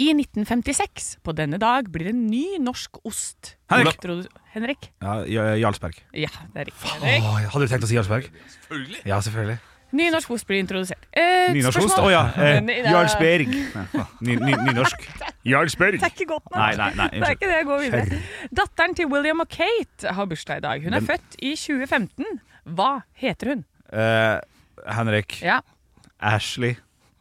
C: I 1956, på denne dag, blir en ny norsk ost
A: Henrik.
C: Introdu- Henrik?
A: Ja, ja, Jarlsberg.
C: Ja, det er riktig. Henrik.
A: Åh, hadde du tenkt å si Jarlsberg? Selvfølgelig. Ja, selvfølgelig.
C: Ny norsk ost blir introdusert. Eh,
A: Nynorskost? Å
C: spørsmål-
A: ja. Eh,
C: Nei, det er-
A: Jarlsberg. Nei, ny- ny- Nynorsk. Jarlsberg.
C: Det er ikke godt nok.
A: Nei, nei, nei.
C: Det er
A: Unnskyld.
C: ikke det jeg går videre. Datteren til William og Kate har bursdag i dag. Hun er født i 2015. Hva heter hun?
A: Eh, Henrik.
C: Ja,
A: Ashley.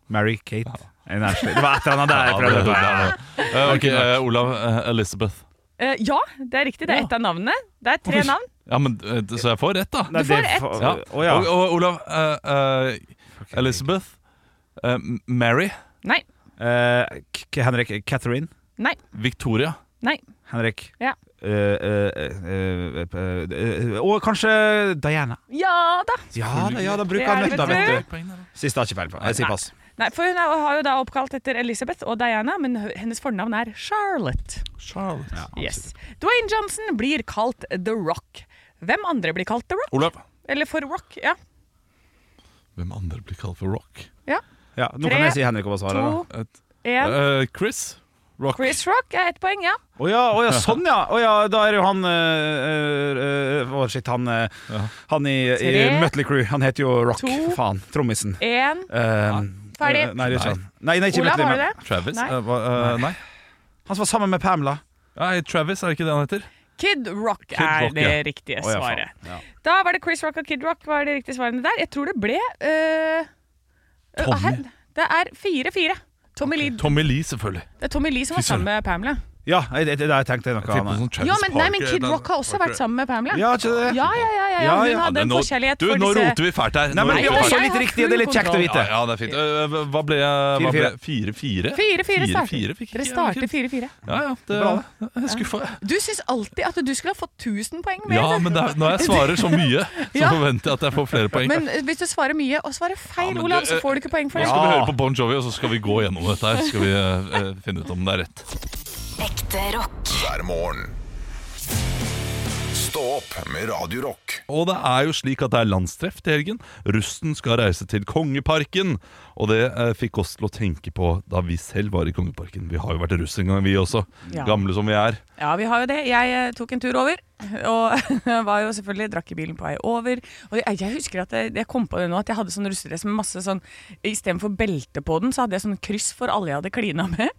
A: Mary Kate. En Ashley. Det var et eller annet der jeg
B: Ja,
A: prøvde
B: det-
A: på.
B: det- det- Eh, ok, eh, Olav eh, Elizabeth.
C: eh, ja det er riktig. Det er ett av navnene. Det er tre
B: Oi.
C: navn.
B: Ja, men, eh, så jeg får rett, da.
A: Nei,
C: Du får
A: det-
C: ett.
A: Å
B: Ja.
A: ja.
B: Og, og Olav eh, eh, Elizabeth eh, Mary
C: Nei.
A: Eh, K- Henrik. Catherine.
C: Nei.
B: Victoria.
C: Nei.
A: Henrik.
C: Ja.
A: Eh, eh, eh, eh, eh, og kanskje Diana.
C: Ja da.
A: Ja da, ja, da
C: Det
A: bruker
C: er
A: han
C: det,
A: nøtta,
C: vet
A: vet du. Siste har jeg ikke feil på. Jeg sier pass.
C: Nei, for Hun er, har jo da oppkalt etter Elizabeth og Diana, men h- hennes fornavn er Charlotte.
B: Charlotte.
C: Yes. Dwayne Johnson blir kalt The Rock. Hvem andre blir kalt The Rock?
B: Olav.
C: Eller For Rock? Ja.
B: Hvem andre blir kalt for Rock?
A: Ja, nå
C: Tre,
A: kan jeg si Henrik og bare svare. da.
C: To,
B: Et,
C: én
B: eh, Chris Rock.
C: Chris Rock er ett poeng, ja.
A: Å ja, å ja, sånn ja! Å ja, da er jo han øh, øh, Å shit, han, øh,
B: Ja.
A: han i, i
C: Tre.
A: Mutley Crew. Han heter jo Rock.
C: To.
A: Faen. Trommisen.
C: Én
A: Ehm,
C: Ferdig.
A: øh, Nei, det er ikke han. Nei, nei, ikke
C: Olav,
A: Mutley,
C: har du
A: men-
C: det?
B: Travis?
C: Nei.
B: Eh, hva, eh, nei.
A: Han som var sammen med Pamela.
B: Nei, Travis, er det ikke det han heter?
C: Kid Rock er
B: Rock,
C: det
B: ja.
C: riktige
A: Å ja, faen.
C: svaret.
A: Ja.
C: Da var det Chris Rock og Kid Rock var de riktige svarene der. Jeg tror det ble øh, øh,
B: Tommy.
C: her- Det er 4-4. Tommy, Lee-
B: Tommy Lee, selvfølgelig.
C: det er Tommy Lee som var
B: Fy søren.
C: sammen med Pamela.
A: Ja, jeg, jeg, jeg tenkte noe
B: Tipper
A: annet.
B: sånn Travis
C: Ja, men, nei, men
B: Parker,
C: Kid
B: den-
C: Rock har også vært sammen med Pamela.
A: Ja, ikke det?
C: Ja, ja, ja, ja, ja.
A: Ja, ja.
C: Hun hadde en
B: Nå-
C: forkjærlighet
B: du,
C: for
B: nå
C: disse
B: roter vi fælt her.
A: Nei,
B: Nå
A: men
B: roter
A: vi
B: vi
A: er også
B: fælt.
A: litt riktig, og det er litt kjekt å
B: ja,
A: vite.
B: ja, det er fint. Eh, Hva ble hva ble-
C: 4-4
B: 4-4? 4-4
C: starter.
B: fikk
C: Dere
B: jeg,
C: starter
B: Kid.
C: 4-4.
B: Ja, ja, det
A: Bra,
B: jeg er skuffa.
C: Du syns alltid at du skulle ha fått 1000 poeng mer.
B: Ja, men det er, når jeg svarer så mye, så
C: Ja.
B: forventer jeg at jeg får flere poeng.
C: Men øh, hvis du svarer mye og svarer feil,
B: men du,
C: Olav, så
B: eh,
C: får du øh, ikke poeng for
B: Nå
C: det.
B: skal vi
A: Ja.
B: høre på Bon Jovi, og så skal vi gå gjennom dette her. Skal vi eh, eh, finne ut om det er rett.
D: Ekte rock.
E: hver morgen. Stå opp med Radio Rock.
B: Og det er jo slik at det er landstreff til helgen. Rusten skal reise til Kongeparken. Og det eh, fikk oss til å tenke på da vi selv var i Kongeparken. Vi har jo vært russ en gang, vi også.
C: Ja.
B: Gamle som vi er.
C: Ja, vi har jo det. Jeg eh, tok en tur over, og var jo selvfølgelig drakk i bilen på vei over. Og jeg, jeg husker at jeg, jeg kom på det nå, at jeg hadde sånn russedress med masse sånn Istedenfor belte på den, så hadde jeg sånn kryss for alle jeg hadde klina med.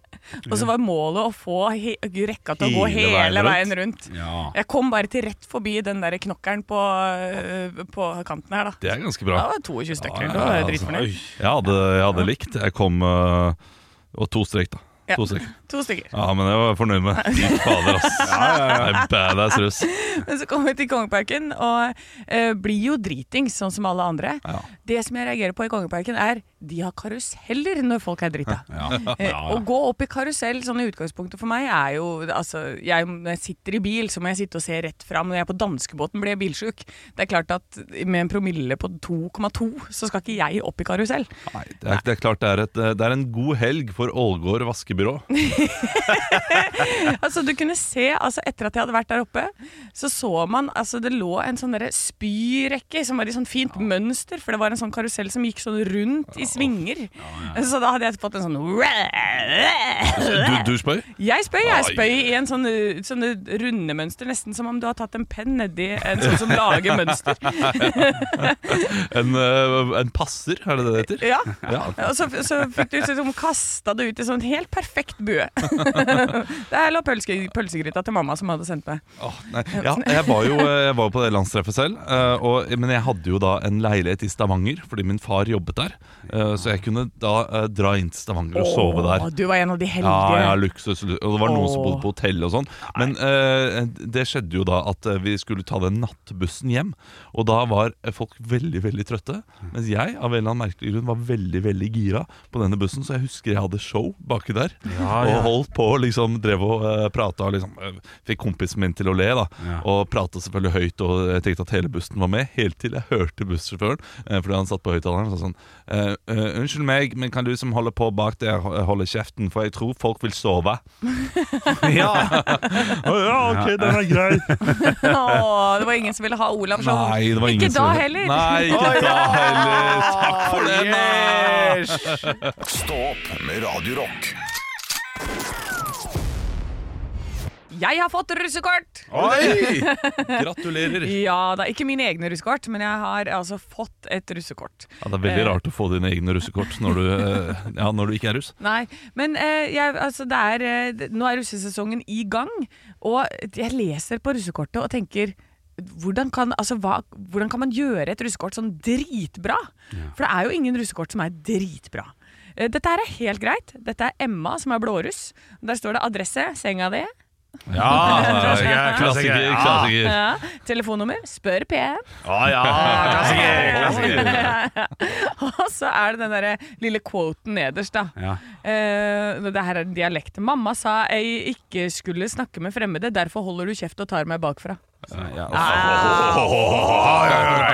C: Og så var målet å få he rekka til å gå
A: Hele
C: hele
A: veien
C: veien rundt.
A: rundt. Ja.
C: Jeg kom bare til rett forbi den der knokkeren på, øh, på kanten her, da.
B: Det er ganske
C: Det
B: bra.
C: var 22 stykker.
B: Ja,
C: Da var jeg
B: altså,
C: dritfornøyd.
B: Jeg hadde, jeg hadde likt. Jeg kom eh, Og to strek, da.
C: Ja.
B: To strek.
C: To stykker.
B: Ja, men jeg var fornøyd med. Fy fader, ass. Jeg er badass russ.
C: Men så kom vi til Kongeparken og eh, blir jo dritings, sånn som alle andre.
B: Ja.
C: Det som jeg reagerer på i Kongeparken, er de har karuseller når folk er drita. Eh, Å gå opp i karusell sånn i utgangspunktet for meg er jo altså, jeg, Når jeg sitter i bil, så må jeg sitte og se rett fram. Når jeg er på danskebåten, blir jeg bilsjuk. Det er klart at med en promille på 2,2, så skal ikke jeg opp i karusell.
B: Nei, det er, det er klart det er, et, det er en god helg for Ålgård vaskebyrå.
C: Altså, du kunne se, altså, etter at jeg hadde vært der oppe, så så man altså, Det lå en sånn derre spyrekke som var i sånn fint mønster, for det var en sånn karusell som gikk sånn rundt i svinger. Så da hadde jeg fått en sånn
B: Altså, Du, du spøy?
C: Jeg spøy, jeg
B: Ai.
C: spøy i en sånn uh, sånne runde mønster, nesten som om du har tatt en penn nedi en sånn som lager mønster.
B: En, eh, en passer, er det det det heter?
C: Ja.
B: Ja.
C: Og så, så fikk du liksom kasta det ut i sånn helt perfekt bue. Der lå pølse, pølsegryta til mamma som hadde sendt meg.
B: Åh, nei. Ja, jeg var jo jeg var jo på det landstreffet selv, eh, og, men jeg hadde jo da en leilighet i Stavanger fordi min far jobbet der. eh, Eh, Så jeg kunne da eh, dra inn til Stavanger og sove der.
C: Åh, Du var en av de heldige.
B: Ja, ja, luksus. lu- Og det var noen som
C: Åh.
B: bodde på hotell og sånn. Men eh, det skjedde jo da at eh, vi skulle ta den nattbussen hjem. Og da var eh, folk veldig, veldig trøtte. Mens jeg av en eller annen merkelig grunn var veldig veldig gira på denne bussen. Så jeg husker jeg hadde show baki der.
A: ja.
B: Og holdt på og liksom drev og uh, prata og liksom eh, fikk kompisen min til å le, da.
A: Ja.
B: Og prata selvfølgelig høyt, og jeg tenkte at hele bussen var med. Helt til jeg hørte bussjåføren, eh, fordi han satt på høyttaleren og sa sånn eh, eh, Unnskyld meg, men kan du som holder på bak der, ho- holde kjeften, for jeg tror folk vil sove.
A: Ja.
B: Å ja, ok, den er grei.
C: Åh, det var ingen som ville ha Olav Show.
B: Nei, det var ingen
C: Ikke da
B: som-
C: heller.
B: Nei, ikke da heller. Takk for den, da.
E: Stå opp med Radio Rock.
C: Jeg har fått russekort!
B: Oi! Gratulerer.
C: Ja da, ikke mine egne russekort, men jeg har altså fått et russekort.
B: Ja, det er veldig rart å få dine egne russekort når du, eh, ja, når du ikke er russ.
C: Nei, men eh, jeg, altså det er, eh, det- nå er russesesongen i gang, og jeg leser på russekortet og tenker hvordan kan, altså, hva, hvordan kan man gjøre et russekort sånn dritbra? For det er jo ingen russekort som er dritbra. Eh, Dette her er helt greit. Dette er Emma som er blåruss. Der står det adresse, senga di,
B: Ja,
A: klassiker, klassiker.
B: klassiker. klassiker.
C: ja, telefonnummer, spør PM.
A: Å ja, klassiker, klassiker.
C: Og så er det den der lille quoten nederst, da.
A: Ja.
C: Eh, det her er dialekt. Mamma sa jeg ikke skulle snakke med fremmede, derfor holder du kjeft og tar meg bakfra.
A: Ja,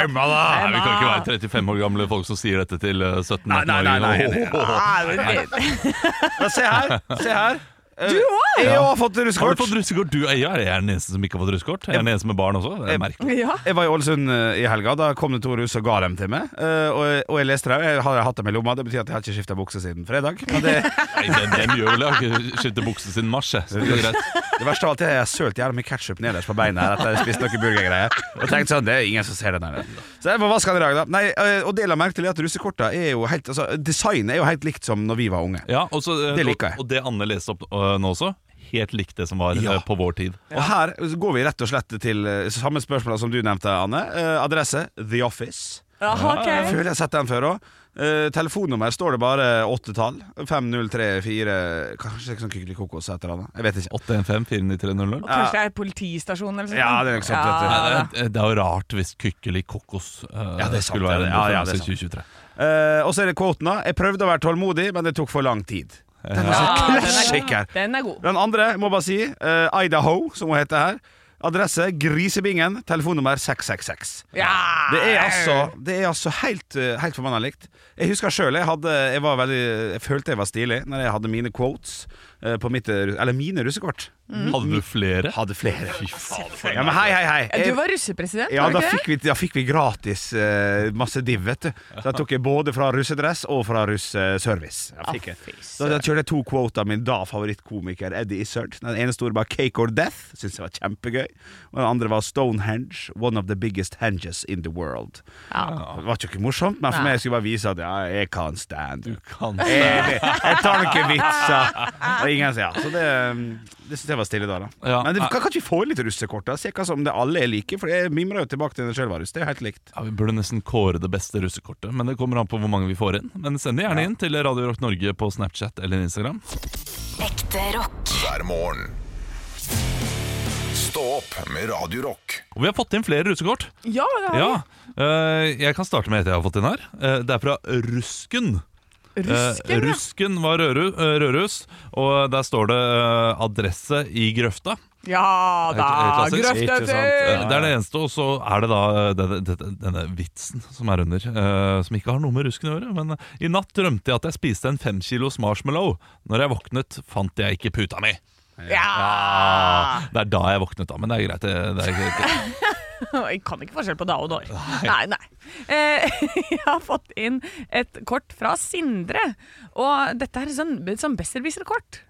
B: Emma, da! Nei, vi kan ikke være 35 år gamle folk som sier dette til eh,
A: Nei,
B: 17-18-åringer.
A: nei, nei, nei, nei. Men se her, se her. Du òg! Jeg har fått
B: Har du fått
A: russekort.
B: russekort? Du er jeg er den eneste som ikke har fått russekort. Jeg er den eneste med barn også. Det er merkelig.
C: Ja.
A: Jeg var i Ålesund eh, i helga. Da kom det to russ og ga dem til meg. Eh, Og jeg, og jeg leste dem. Jeg har hatt dem i lomma. Det betyr at jeg har ikke skifta bukse siden fredag. Men det,
B: Nei, den, den gjør vel jeg har ikke skiftet bukse siden mars, jeg. Så det er greit.
A: det verste av alt er at jeg har sølt jævla mye ketsjup nederst på beina her etter jeg har spist noen burgergreier. Og tenkt sånn, det er ingen som ser den her. Så jeg får vaske den i dag, da. Nei, eh, og del av merke til er at russekorta er jo helt altså, Designet er jo helt likt som når vi var unge.
B: Ja, og så, eh,
A: Det liker jeg.
B: Og det Anne leste opp eh, nå også, helt likt det som var eh,
A: Ja.
B: på vår tid.
A: Og her går vi rett og slett til eh, samme spørsmål som du nevnte, Anne. Eh, adresse The Office.
C: Jaha, ok.
A: Jeg føler jeg har sett den før òg. telefonnummer står det bare åttetall. 5034 Kanskje det er sånn Kykkeli Kokos et eller annet. Jeg vet ikke.
B: 815-49300.
C: Og kanskje det er politistasjonen eller noe sånt?
A: Ja, det er nok sant,
B: Nei,
C: Ja, da.
B: Eh, det, det er jo rart hvis Kykkeli Kokos eh,
A: Ja, det er sant,
B: skulle være
A: det er det.
B: en
A: Ja, ja,
B: referanse
A: det er
B: i 2023.
A: Eh, og så er det kvoten, da. Jeg prøvde å være tålmodig, men det tok for lang tid. Den er så
C: Ja, den er
A: klassiker.
C: Den er god.
A: Den andre, må bare si, eh, Idaho, som hun heter her. Adresse Grisebingen, telefonnummer 666.
C: Ja.
A: Det er altså, det er altså helt, eh, helt forbanna likt. Jeg husker sjøl jeg, hadde- jeg, var veldig- jeg følte jeg var stilig når jeg hadde mine quotes eh, på mitt eh, Eller mine russekort.
B: Hadde du flere?
A: Hadde flere. Ja, men hei, hei, hei.
C: Du
A: Jeg-
C: var russepresident,
A: ja,
C: var
A: da
C: du ikke det?
A: fikk vi, da fikk vi gratis eh, masse div, vet du. Så da tok jeg både fra russedress og fra russeservice. Da fikk jeg. Da, da kjørte jeg to quoter av min da favorittkomiker Eddie Izzard. Den ene store var 'Cake or Death', syntes jeg var kjempegøy. Og den andre var 'Stonehenge', one of the biggest henges in the world. Det var ikke morsomt, men for meg skulle jeg bare vise at ja, jeg kan stand.
B: Du kan
A: Jeg, jeg tar noen vitser. Og ingen sier ja. Så det, um, det syns jeg var stille da. da.
B: Ja.
A: Men det, kan, kan ikke vi få litt russekort? da? Se hva som det alle er like. For jeg mimrer jo tilbake til den sjøl var russ. Det er jo helt likt.
B: Ja, Vi burde nesten kåre det beste russekortet, men det kommer an på hvor mange vi får inn. Men send det gjerne inn til Radio Rock Norge på Snapchat eller Instagram.
D: Ekte rock.
E: hver morgen. Stå opp med Radio Rock.
B: Og vi har fått inn flere russekort.
C: Ja, det har vi.
B: Ja, eh, Jeg kan starte med et jeg har fått inn her. Eh, det er fra Rusken.
C: Rusken,
B: Eh,
C: ja.
B: Rusken var Røru, eh, Rørus, og der står det eh, adresse i grøfta.
C: Ja da,
B: Helt- helt klassisk.
A: Ikke sant?
C: grøftefugl!
B: Eh, Det er det eneste, og så er det da eh, denne, denne, denne vitsen som er under, eh, som ikke har noe med rusken å gjøre. Men eh, i natt drømte jeg at jeg spiste en fem kilos marshmallow. Når jeg våknet, fant jeg ikke puta mi.
C: Ja!
B: Det er da jeg våknet, da, men det er greit. Det, det er greit.
C: Jeg kan ikke forskjell på da og når. Nei, nei. Eh, jeg har fått inn et kort fra Sindre, og dette er sånn, sånn besserwisser-kort.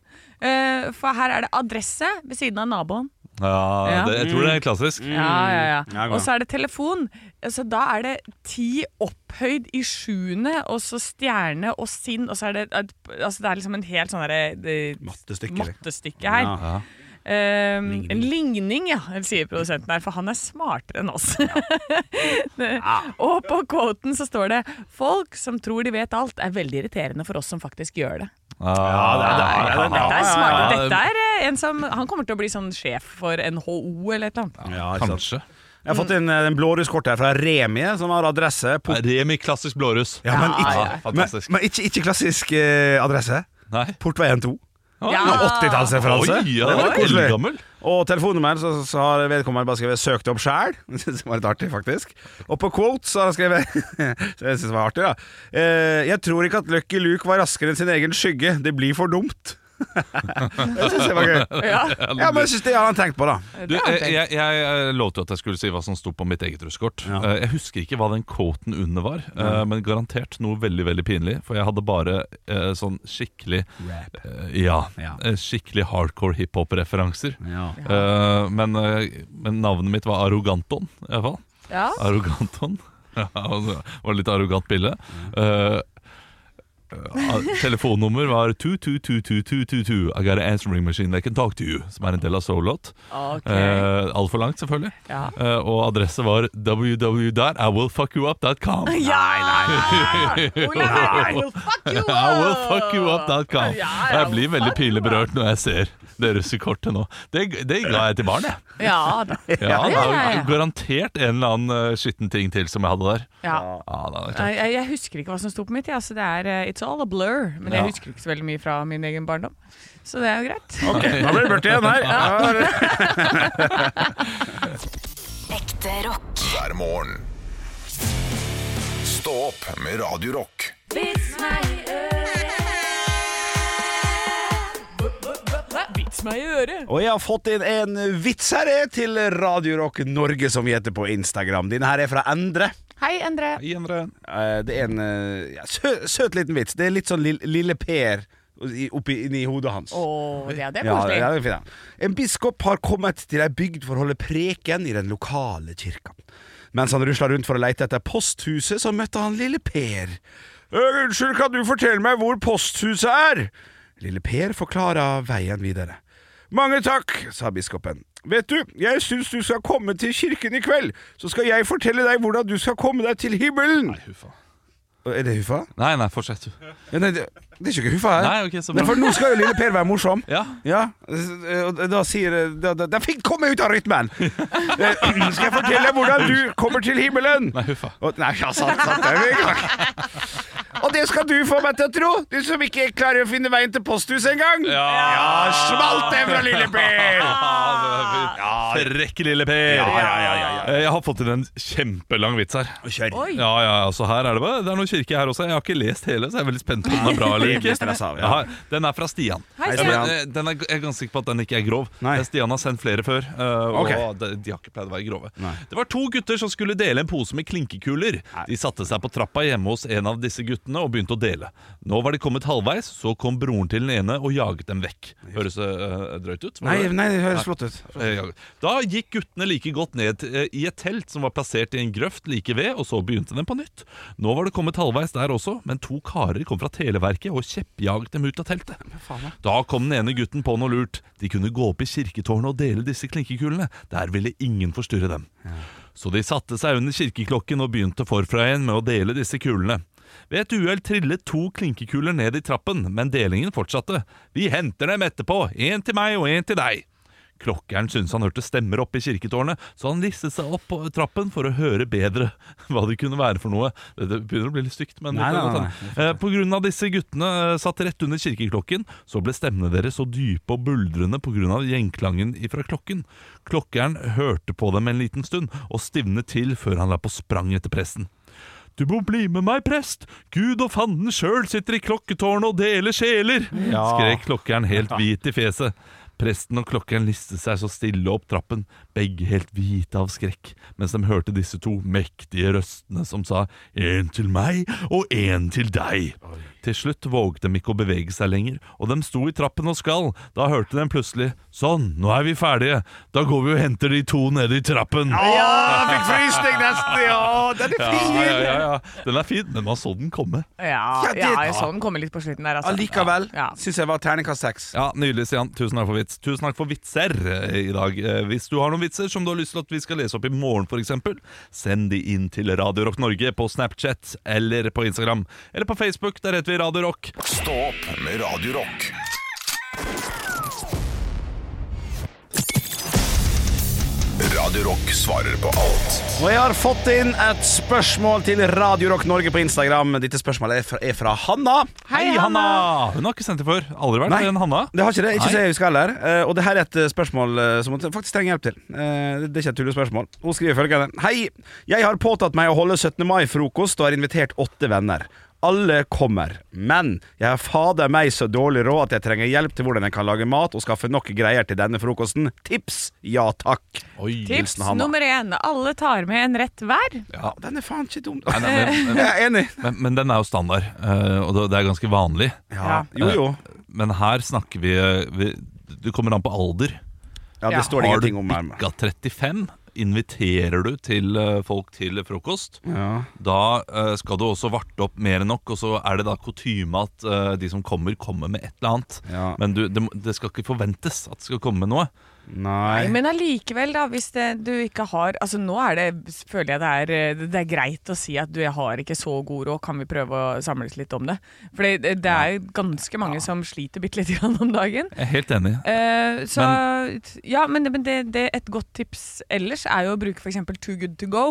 C: Eh, for her er det adresse ved siden av naboen.
B: Ja,
C: Ja.
B: det, jeg tror det er klassisk.
C: Ja, ja,
A: Ja,
C: ja.
A: god.
C: Og så er det telefon. Så da er det ti opphøyd i sjuende, og så stjerne og sinn, og så er det et- Altså det er liksom en helt sånn derre det-
A: Mattestykke.
C: mattestykke her.
A: Ja.
C: Eh,
A: Ligning.
C: En ligning, ja, sier produsenten her, for han er smartere enn oss. Det-
A: Ah.
C: og på quoten så står det Folk som tror de vet alt, er veldig irriterende for oss som faktisk gjør det.
B: Ah,
A: Ja,
C: Dette er smart.
B: ja, ja.
C: Dette er eh, en som Han kommer til å bli sånn sjef for NHO eller et eller annet.
A: Ja, ikke sant.
B: Kanskje.
A: Jeg har fått inn eh, en blåruskort her fra Remi, som har adresse på
B: Remi klassisk blårus.
A: Ja, men ikke, men,
B: fantastisk.
A: men ikke, ikke klassisk eh, adresse.
B: Nei.
A: Portveien 2.
B: Oi,
A: Nå 80-tallsreferanse.
B: Oi, ja, det var
A: koselig.
B: eldgammel.
A: Og telefonnummeret så, så har vedkommende bare skrevet 'søkt opp sjæl'. Det synes jeg var litt artig, faktisk. Og på quote så har han skrevet så Jeg synes det var artig, da. Eh, 'Jeg tror ikke at Lucky Luke var raskere enn sin egen skygge. Det blir for dumt'. det syns jeg var gøy.
C: Ja.
A: Ja, men jeg synes det har han tenkt på, da.
B: Du, jeg, jeg, jeg eh, lovte jo at jeg skulle si hva som sto på mitt eget russekort.
A: Ja.
B: Eh, Jeg husker ikke hva den quoten under var, eh, men garantert noe veldig veldig pinlig. For jeg hadde bare eh, sånn skikkelig
A: Rap.
B: eh, Ja,
A: Ja.
B: eh, skikkelig hardcore hiphop-referanser.
A: Ja.
B: Eh, men, eh, men navnet mitt var Arroganton, i hvert fall.
C: Ja.
B: Arroganton. Ja, altså, det var litt arrogant bilde. Eh, eh, telefonnummer var 222222. I got an answering machine that can talk to you. Som er en del av Solot.
C: Ok.
A: Eh,
B: Uh, Altfor langt, selvfølgelig.
C: Ja.
B: Eh, og adresse var www.iwillfuckyouup.com.
C: Olav I will fuck you up!
B: I will fuck you
C: Ja,
B: up.com. Og
C: ja,
B: jeg blir veldig
C: fuck you
B: pinlig berørt når jeg ser det russekortet nå. Det, det ga jeg til barnet.
C: Ja, da.
B: Ja, det
C: ja, ja.
B: er garantert en eller annen eh, skitten ting til som jeg hadde der.
C: ja.
B: Ja, det er klart.
C: Nei, Jeg, jeg husker ikke hva som sto på mitt. Ja. Så det er eh, It's all a blur. Men
B: Ja.
C: jeg husker ikke så veldig mye fra min egen barndom. Så det er jo greit.
A: Ok, da blir det Bjarte igjen her. Ja.
D: Ekte rock.
E: hver morgen. Stå opp med Radio Rock.
C: Vits meg i øret!
A: Og jeg har fått inn en vits her jeg, til Radio Rock Norge, som vi heter på Instagram. Denne her er fra Endre.
C: Hei, Endre.
B: Gi en dere en.
A: Eh, Det er en eh, ja, sø, søt liten vits. Det er litt sånn lille, lille Per i- oppi inni hodet hans.
C: Å, ja, det er
A: Ja,
C: koselig.
A: ja, det er fint, ja. En biskop har kommet til ei bygd for å holde preken i den lokale kirka. Mens han rusla rundt for å leite etter posthuset, så møtte han lille Per. «Øh, Unnskyld, kan du fortelle meg hvor posthuset er? Lille Per forklarer veien videre. Mange takk, sa biskopen. Vet du, jeg syns du skal komme til kirken i kveld, så skal jeg fortelle deg hvordan du skal komme deg til himmelen.
B: Huffa.
A: Er det Huffa?
B: Nei, nei, fortsett du.
A: Ja, nei, det, det er ikke Huffa her.
B: Nei, ok, så
A: Nei,
B: bra.
A: for nå skal jo lille Per være morsom.
B: Ja.
A: Ja, og da sier Da, da, da fikk komme ut av rytmen! Eh, Skal jeg fortelle hvordan du kommer til himmelen?
B: Nei, huffa.
A: Og, nei, ja, sant, sant, det er vi i gang. Og det skal du få meg til å tro, du som ikke klarer å finne veien til posthuset engang. Ja. ja, smalt det fra lille Per!
B: Ja, Frekk lille Per! Eh, Jeg har fått inn en kjempelang vits her.
A: Kjør.
C: Oi.
B: Ja, ja, altså her er Det bare Det er noen kirke her også. Jeg har ikke lest hele, så jeg er veldig spent på om den er bra eller
A: Jeg blir
B: ikke.
A: stresset av, ja.
B: Ja, den er fra Stian.
C: Hei,
B: Ja,
C: Stian.
B: men, eh, den er, jeg er ganske sikker på at den ikke er grov.
A: Nei.
B: Eh, Stian har sendt flere før, eh, og
A: Ok.
B: de, de har ikke pleid å være grove.
A: Nei.
B: Det var to gutter som skulle dele en pose med klinkekuler. De satte seg på trappa hjemme hos en av disse guttene og begynte å dele. Nå var de kommet halvveis, så kom broren til den ene og jaget dem vekk. Høres det eh, drøyt ut?
A: Nei, nei, det høres flott ut.
B: Eh, ja. Da gikk guttene like godt ned eh, i et telt som var plassert i en grøft like ved, og så begynte den på nytt. Nå var det kommet halvveis der også, men to karer kom fra Televerket og kjeppjaget dem ut av teltet. Da kom den ene gutten på noe lurt. De kunne gå opp i kirketårnet og dele disse klinkekulene. Der ville ingen forstyrre dem. Så de satte seg under kirkeklokken og begynte forfra igjen med å dele disse kulene. Ved et uhell trillet to klinkekuler ned i trappen, men delingen fortsatte. Vi henter dem etterpå, én til meg og én til deg. Klokkeren syntes han hørte stemmer oppe i kirketårnet, så han listet seg opp på trappen for å høre bedre hva det kunne være for noe. Det begynner å bli litt stygt, men
A: Nei, nei, nei, nei.
B: Eh, På grunn av disse guttene eh, satt rett under kirkeklokken, så ble stemmene deres så dype og buldrende på grunn av gjenklangen fra klokken. Klokkeren hørte på dem en liten stund, og stivnet til før han la på sprang etter presten. Du må bli med meg, prest! Gud og fanden sjøl sitter i klokketårnet og deler sjeler! skrek klokkeren helt hvit i fjeset. Presten og klokkeren listet seg så stille opp trappen, begge helt hvite av skrekk, mens de hørte disse to mektige røstene som sa en til meg og en til deg. Til slutt vågde de ikke å bevege seg lenger, og de sto i trappen og skalv. Da hørte de plutselig 'Sånn, nå er vi ferdige. Da går vi og henter de to nede i trappen'.
A: Ja, fikk frysning nesten! Ja, den er
B: Ja,
A: fin!
B: ja, ja, ja. Den er fin, men man så den komme.
C: Ja,
A: Ja, det-
C: ja, sånn kommer litt på slutten der, altså.
A: Allikevel
C: Ja.
A: syns jeg var terningkast seks.
B: Ja, Nydelig, Stian. Tusen takk for vits. Tusen takk for vitser eh, i dag. Eh, Hvis du har noen vitser som du har lyst til at vi skal lese opp i morgen, f.eks., send de inn til Radio Rock Norge på Snapchat eller på Instagram. Eller på Facebook, der heter vi Radio Rock.
E: Stå opp med Radio Rock. Radio Rock svarer på alt
A: Og jeg har fått inn et spørsmål til Radio Rock Norge på Instagram. Dette spørsmålet er fra, er fra Hanna.
B: Hei, Hanna! Hun har ikke sendt det før. Aldri vært
A: Nei.
B: med en Hanna.
A: Det har ikke det. Ikke
B: Nei.
A: så jeg husker heller. Eh, Og det her er et eh, spørsmål eh, som jeg faktisk trenger hjelp til. Eh, Det er ikke et tullespørsmål. Hun skriver følgende. Hei, jeg har påtatt meg å holde 17. mai-frokost og har invitert åtte venner. Alle kommer, men jeg har fader meg så dårlig råd at jeg trenger hjelp til hvordan jeg kan lage mat og skaffe nok greier til denne frokosten. Tips? Ja takk.
B: Oi.
C: Tips
A: Hilsen Hanna.
C: nummer én. Alle tar med en rett hver.
B: Ja.
A: Den er faen ikke dum.
B: Nei, nei, men,
A: Jeg er enig.
B: men, men den er jo standard, eh, og det- det er ganske vanlig.
A: Ja. Jo, jo.
B: Men her snakker vi, eh, vi Det kommer an på alder.
A: Ja,
C: Ja.
A: det står det
B: Har du
A: ingenting om her.
B: bikka 35, inviterer du til eh, folk til frokost,
A: Ja.
B: da eh, skal du også varte opp mer enn nok, og så er det da kutyme at eh, de som kommer, kommer med et eller annet.
A: Ja.
B: Men du, det, må- det skal ikke forventes at det skal komme med noe.
A: Nei.
C: Men allikevel, da, hvis det, du ikke har Altså nå er det, føler jeg det er, eh, det er greit å si at du, jeg har ikke så god råd, kan vi prøve å samles litt om det? For det, det er jo ganske mange som sliter bitte lite grann om dagen.
B: Jeg er helt enig.
C: Eh, så Ja, men, men det, det, et godt tips ellers er jo å bruke f.eks. Too Good To Go.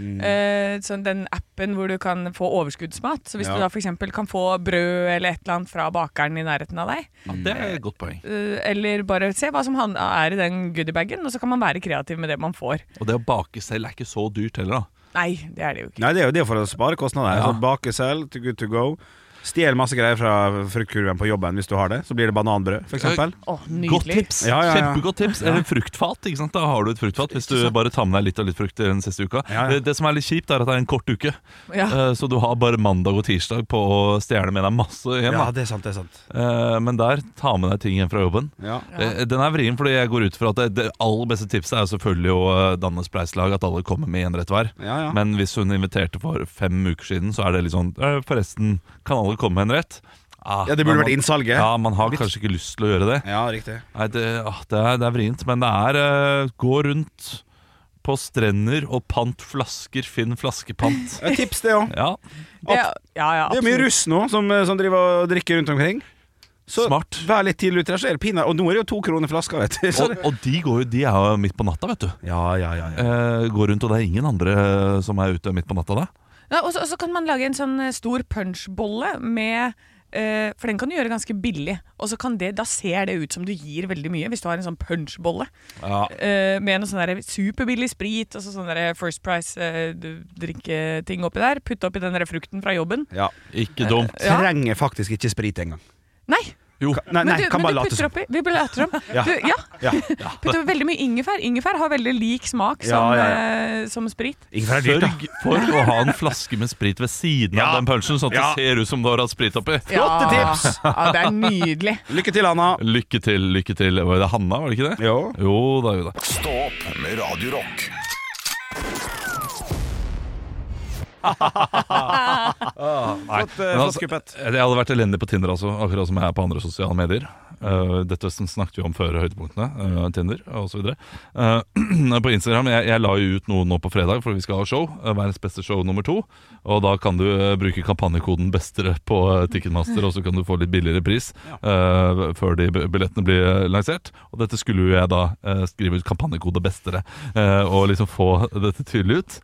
A: Mm.
C: Eh, sånn den appen hvor du kan få overskuddsmat. Så hvis
A: Ja.
C: du da f.eks. kan få brød eller et eller annet fra bakeren i nærheten av deg,
B: Ja, det er et godt poeng.
C: eh, eller bare se hva som han- er i den goodiebagen, og så kan man være kreativ med det man får.
B: Og det å bake selv er ikke så dyrt heller, da.
C: Nei, det er det jo ikke.
A: Nei, det er jo det for å spare kostnader.
B: Ja.
A: Altså, bake selv, to good to go. Stjel masse greier fra fruktkurven på jobben hvis du har det. Så blir det bananbrød, for eksempel.
C: Å,
B: Godt
C: nydelig.
B: tips!
A: Ja, ja, ja.
B: Kjempegodt tips. Eller fruktfat. ikke sant? Da har du et fruktfat hvis du bare tar med deg litt og litt frukt den siste uka.
A: Ja, ja.
B: Det, det som er litt kjipt, er at det er en kort uke,
C: Ja.
B: Eh, så du har bare mandag og tirsdag på å stjele med deg masse hjem.
A: Ja,
B: da.
A: det er sant, det er sant.
B: Eh, Men der, ta med deg ting hjem fra jobben.
A: Ja.
B: Eh, Den er vrien, fordi jeg går ut fra at det, det aller beste tipset er jo selvfølgelig å eh, danne spleiselag, at alle kommer med én rett hver.
A: Ja, ja.
B: Men hvis hun inviterte for fem uker siden, så er det litt sånn «Eh, Forresten, kan alle komme med en rett? Ah,
A: ja, det burde
B: men
A: vært
B: man-
A: innsalget.
B: Ja,
A: Ja,
B: man har kanskje ikke lyst til å gjøre det.
A: riktig.
B: Nei, det, ah, det, er, det er vrient, men det er eh, gå rundt på strender og pant flasker, finn flaskepant.
A: Et tips, det òg.
B: Ja,
C: Det, ja, ja,
A: Det er mye russ nå som, eh, som driver og drikker rundt omkring. Så
B: Smart.
A: vær litt tidlig ute. der, Så er det pinadø Og nå er det jo to kroner flaska, vet du. Så
B: og, og de, går jo, de er jo midt på natta, vet du.
A: ja, ja, ja, ja.
B: Eh, går rundt, og det er ingen andre eh, som er ute midt på natta da.
C: Ja, og så og så kan man lage en sånn eh, stor punchbolle med eh, for den kan du gjøre ganske billig. Og så kan det, Da ser det ut som du gir veldig mye, hvis du har en sånn punchbolle.
B: Ja.
C: eh, med noe sånn der superbillig sprit og så sånn der First Price-drikketing oppi der. Putte oppi den der frukten fra jobben.
A: ja.
B: Ikke dumt.
A: Trenger faktisk ikke sprit engang.
C: Nei!
B: Jo,
A: Ka- Nei, nei
C: men du,
A: kan
C: men
A: bare
C: du
A: late
C: putter
A: som.
C: oppi Vi bare later om.
A: Ja.
C: Du, ja,
A: Ja.
C: putter oppi veldig mye ingefær. Ingefær har veldig lik smak som,
A: Ja, ja, ja.
C: eh, som sprit.
A: Ingefær er dyrt, da.
B: sørg for å ha en flaske med sprit ved siden
A: Ja.
B: av den punchen, sånn at
A: Ja.
B: det ser ut som du har hatt sprit oppi.
A: Flotte tips!
C: Ja, det er nydelig.
A: Lykke til, Anna.
B: Lykke til, lykke til. Var det Hanna, var det ikke det?
A: Jo.
B: Jo da, jo da.
E: Stå opp med Radio Rock
A: Flott, eh,
B: Men
A: flott
B: altså,
A: skuppet.
B: jeg hadde vært elendig på Tinder, altså, akkurat som jeg er på andre sosiale medier. Eh, dette sn- snakket vi om før høydepunktene. eh, Tinder osv. Uh, på Instagram jeg, jeg la jo ut noe nå på fredag, for vi skal ha show. eh, verdens beste show nummer to. Og da kan du eh, bruke kampanjekoden 'Bestere' på eh, Ticketmaster, og så kan du få litt billigere pris eh, før de b- billettene blir eh, lansert. Og dette skulle jo jeg da eh, skrive ut kampanjekode 'Bestere' eh, og liksom få dette tydelig ut.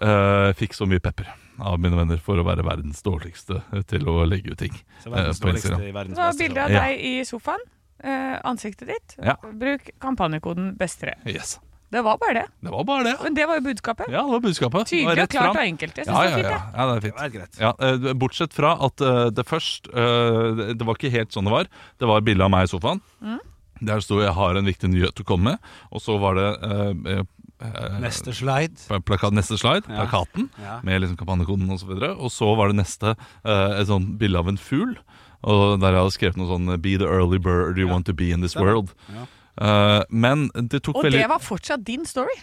B: Eh, fikk så mye pepper av mine venner for å være verdens dårligste til å legge ut ting. eh, på Instagram.
C: Det var bilde av
B: Ja.
C: deg i sofaen. eh, ansiktet ditt.
B: Ja.
C: Bruk kampanjekoden BESTRE.
B: Yes.
C: Det var bare det.
B: Det var bare det.
C: Men det var jo budskapet.
B: Ja, det var budskapet. Det var
C: Tydelig og
B: rett
C: klart
B: fram.
C: og enkelt. Jeg synes
B: Ja,
C: det var
B: ja,
C: fint,
B: ja.
C: jeg.
B: ja, det er fint.
A: Det er greit.
B: Ja, eh, bortsett fra at eh, det først eh, Det var ikke helt sånn det var. Det var et bilde
C: Mm.
B: av meg i sofaen. Der sto 'jeg har en viktig nyhet å komme med', og så var det eh, eh, eh,
A: Neste slide.
B: pla- plakat, neste slide,
A: Ja.
B: plakaten,
A: Ja.
B: med liksom kampanjekoden osv. Og, så og så var det neste eh, et sånn bilde av en fugl. Og der jeg hadde skrevet noe sånn Be the early bird you want to be in this world.
A: Ja.
B: Eh, men det tok
C: Og
B: veldig
C: det var fortsatt din story.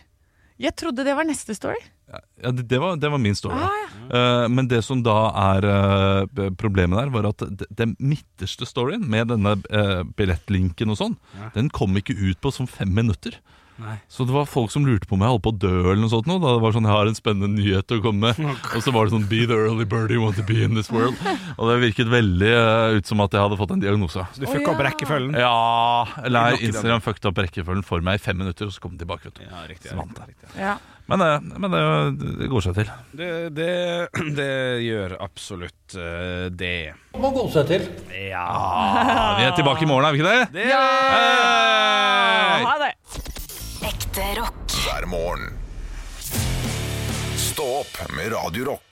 C: Jeg trodde det var neste story.
B: ja, det, det, var, det var min story.
A: Ah, Mm.
B: Eh, men det som da er eh, b- problemet der, var at d- den midterste storyen med denne eh, billettlinken og sånn,
A: Ja.
B: den kom ikke ut på sånn fem minutter.
A: Nei.
B: Så det var folk som lurte på om jeg holdt på å dø eller noe sånt. nå, Da det var sånn, jeg har en spennende nyhet til å komme med. Og så var det sånn, be the early bird you want to be in this world. Og det virket veldig eh, ut som at jeg hadde fått en diagnose.
A: Så du fucka opp rekkefølgen.
B: Ja, eller
A: Nok i den.
B: Instagram fucked opp rekkefølgen for meg i fem minutter, og så kom den tilbake, vet du.
A: Ja, riktig,
B: Så
A: ja,
B: vant jeg.
A: riktig.
B: Men, eh, men det, det går seg til.
A: Det, det, det gjør absolutt eh, det.
H: må gode seg til.
B: Ja, vi er tilbake i morgen, er vi ikke det?
A: det Hei!
C: Ha det.
D: Ekte rock.
E: hver morgen. Stå opp med Radio Rock.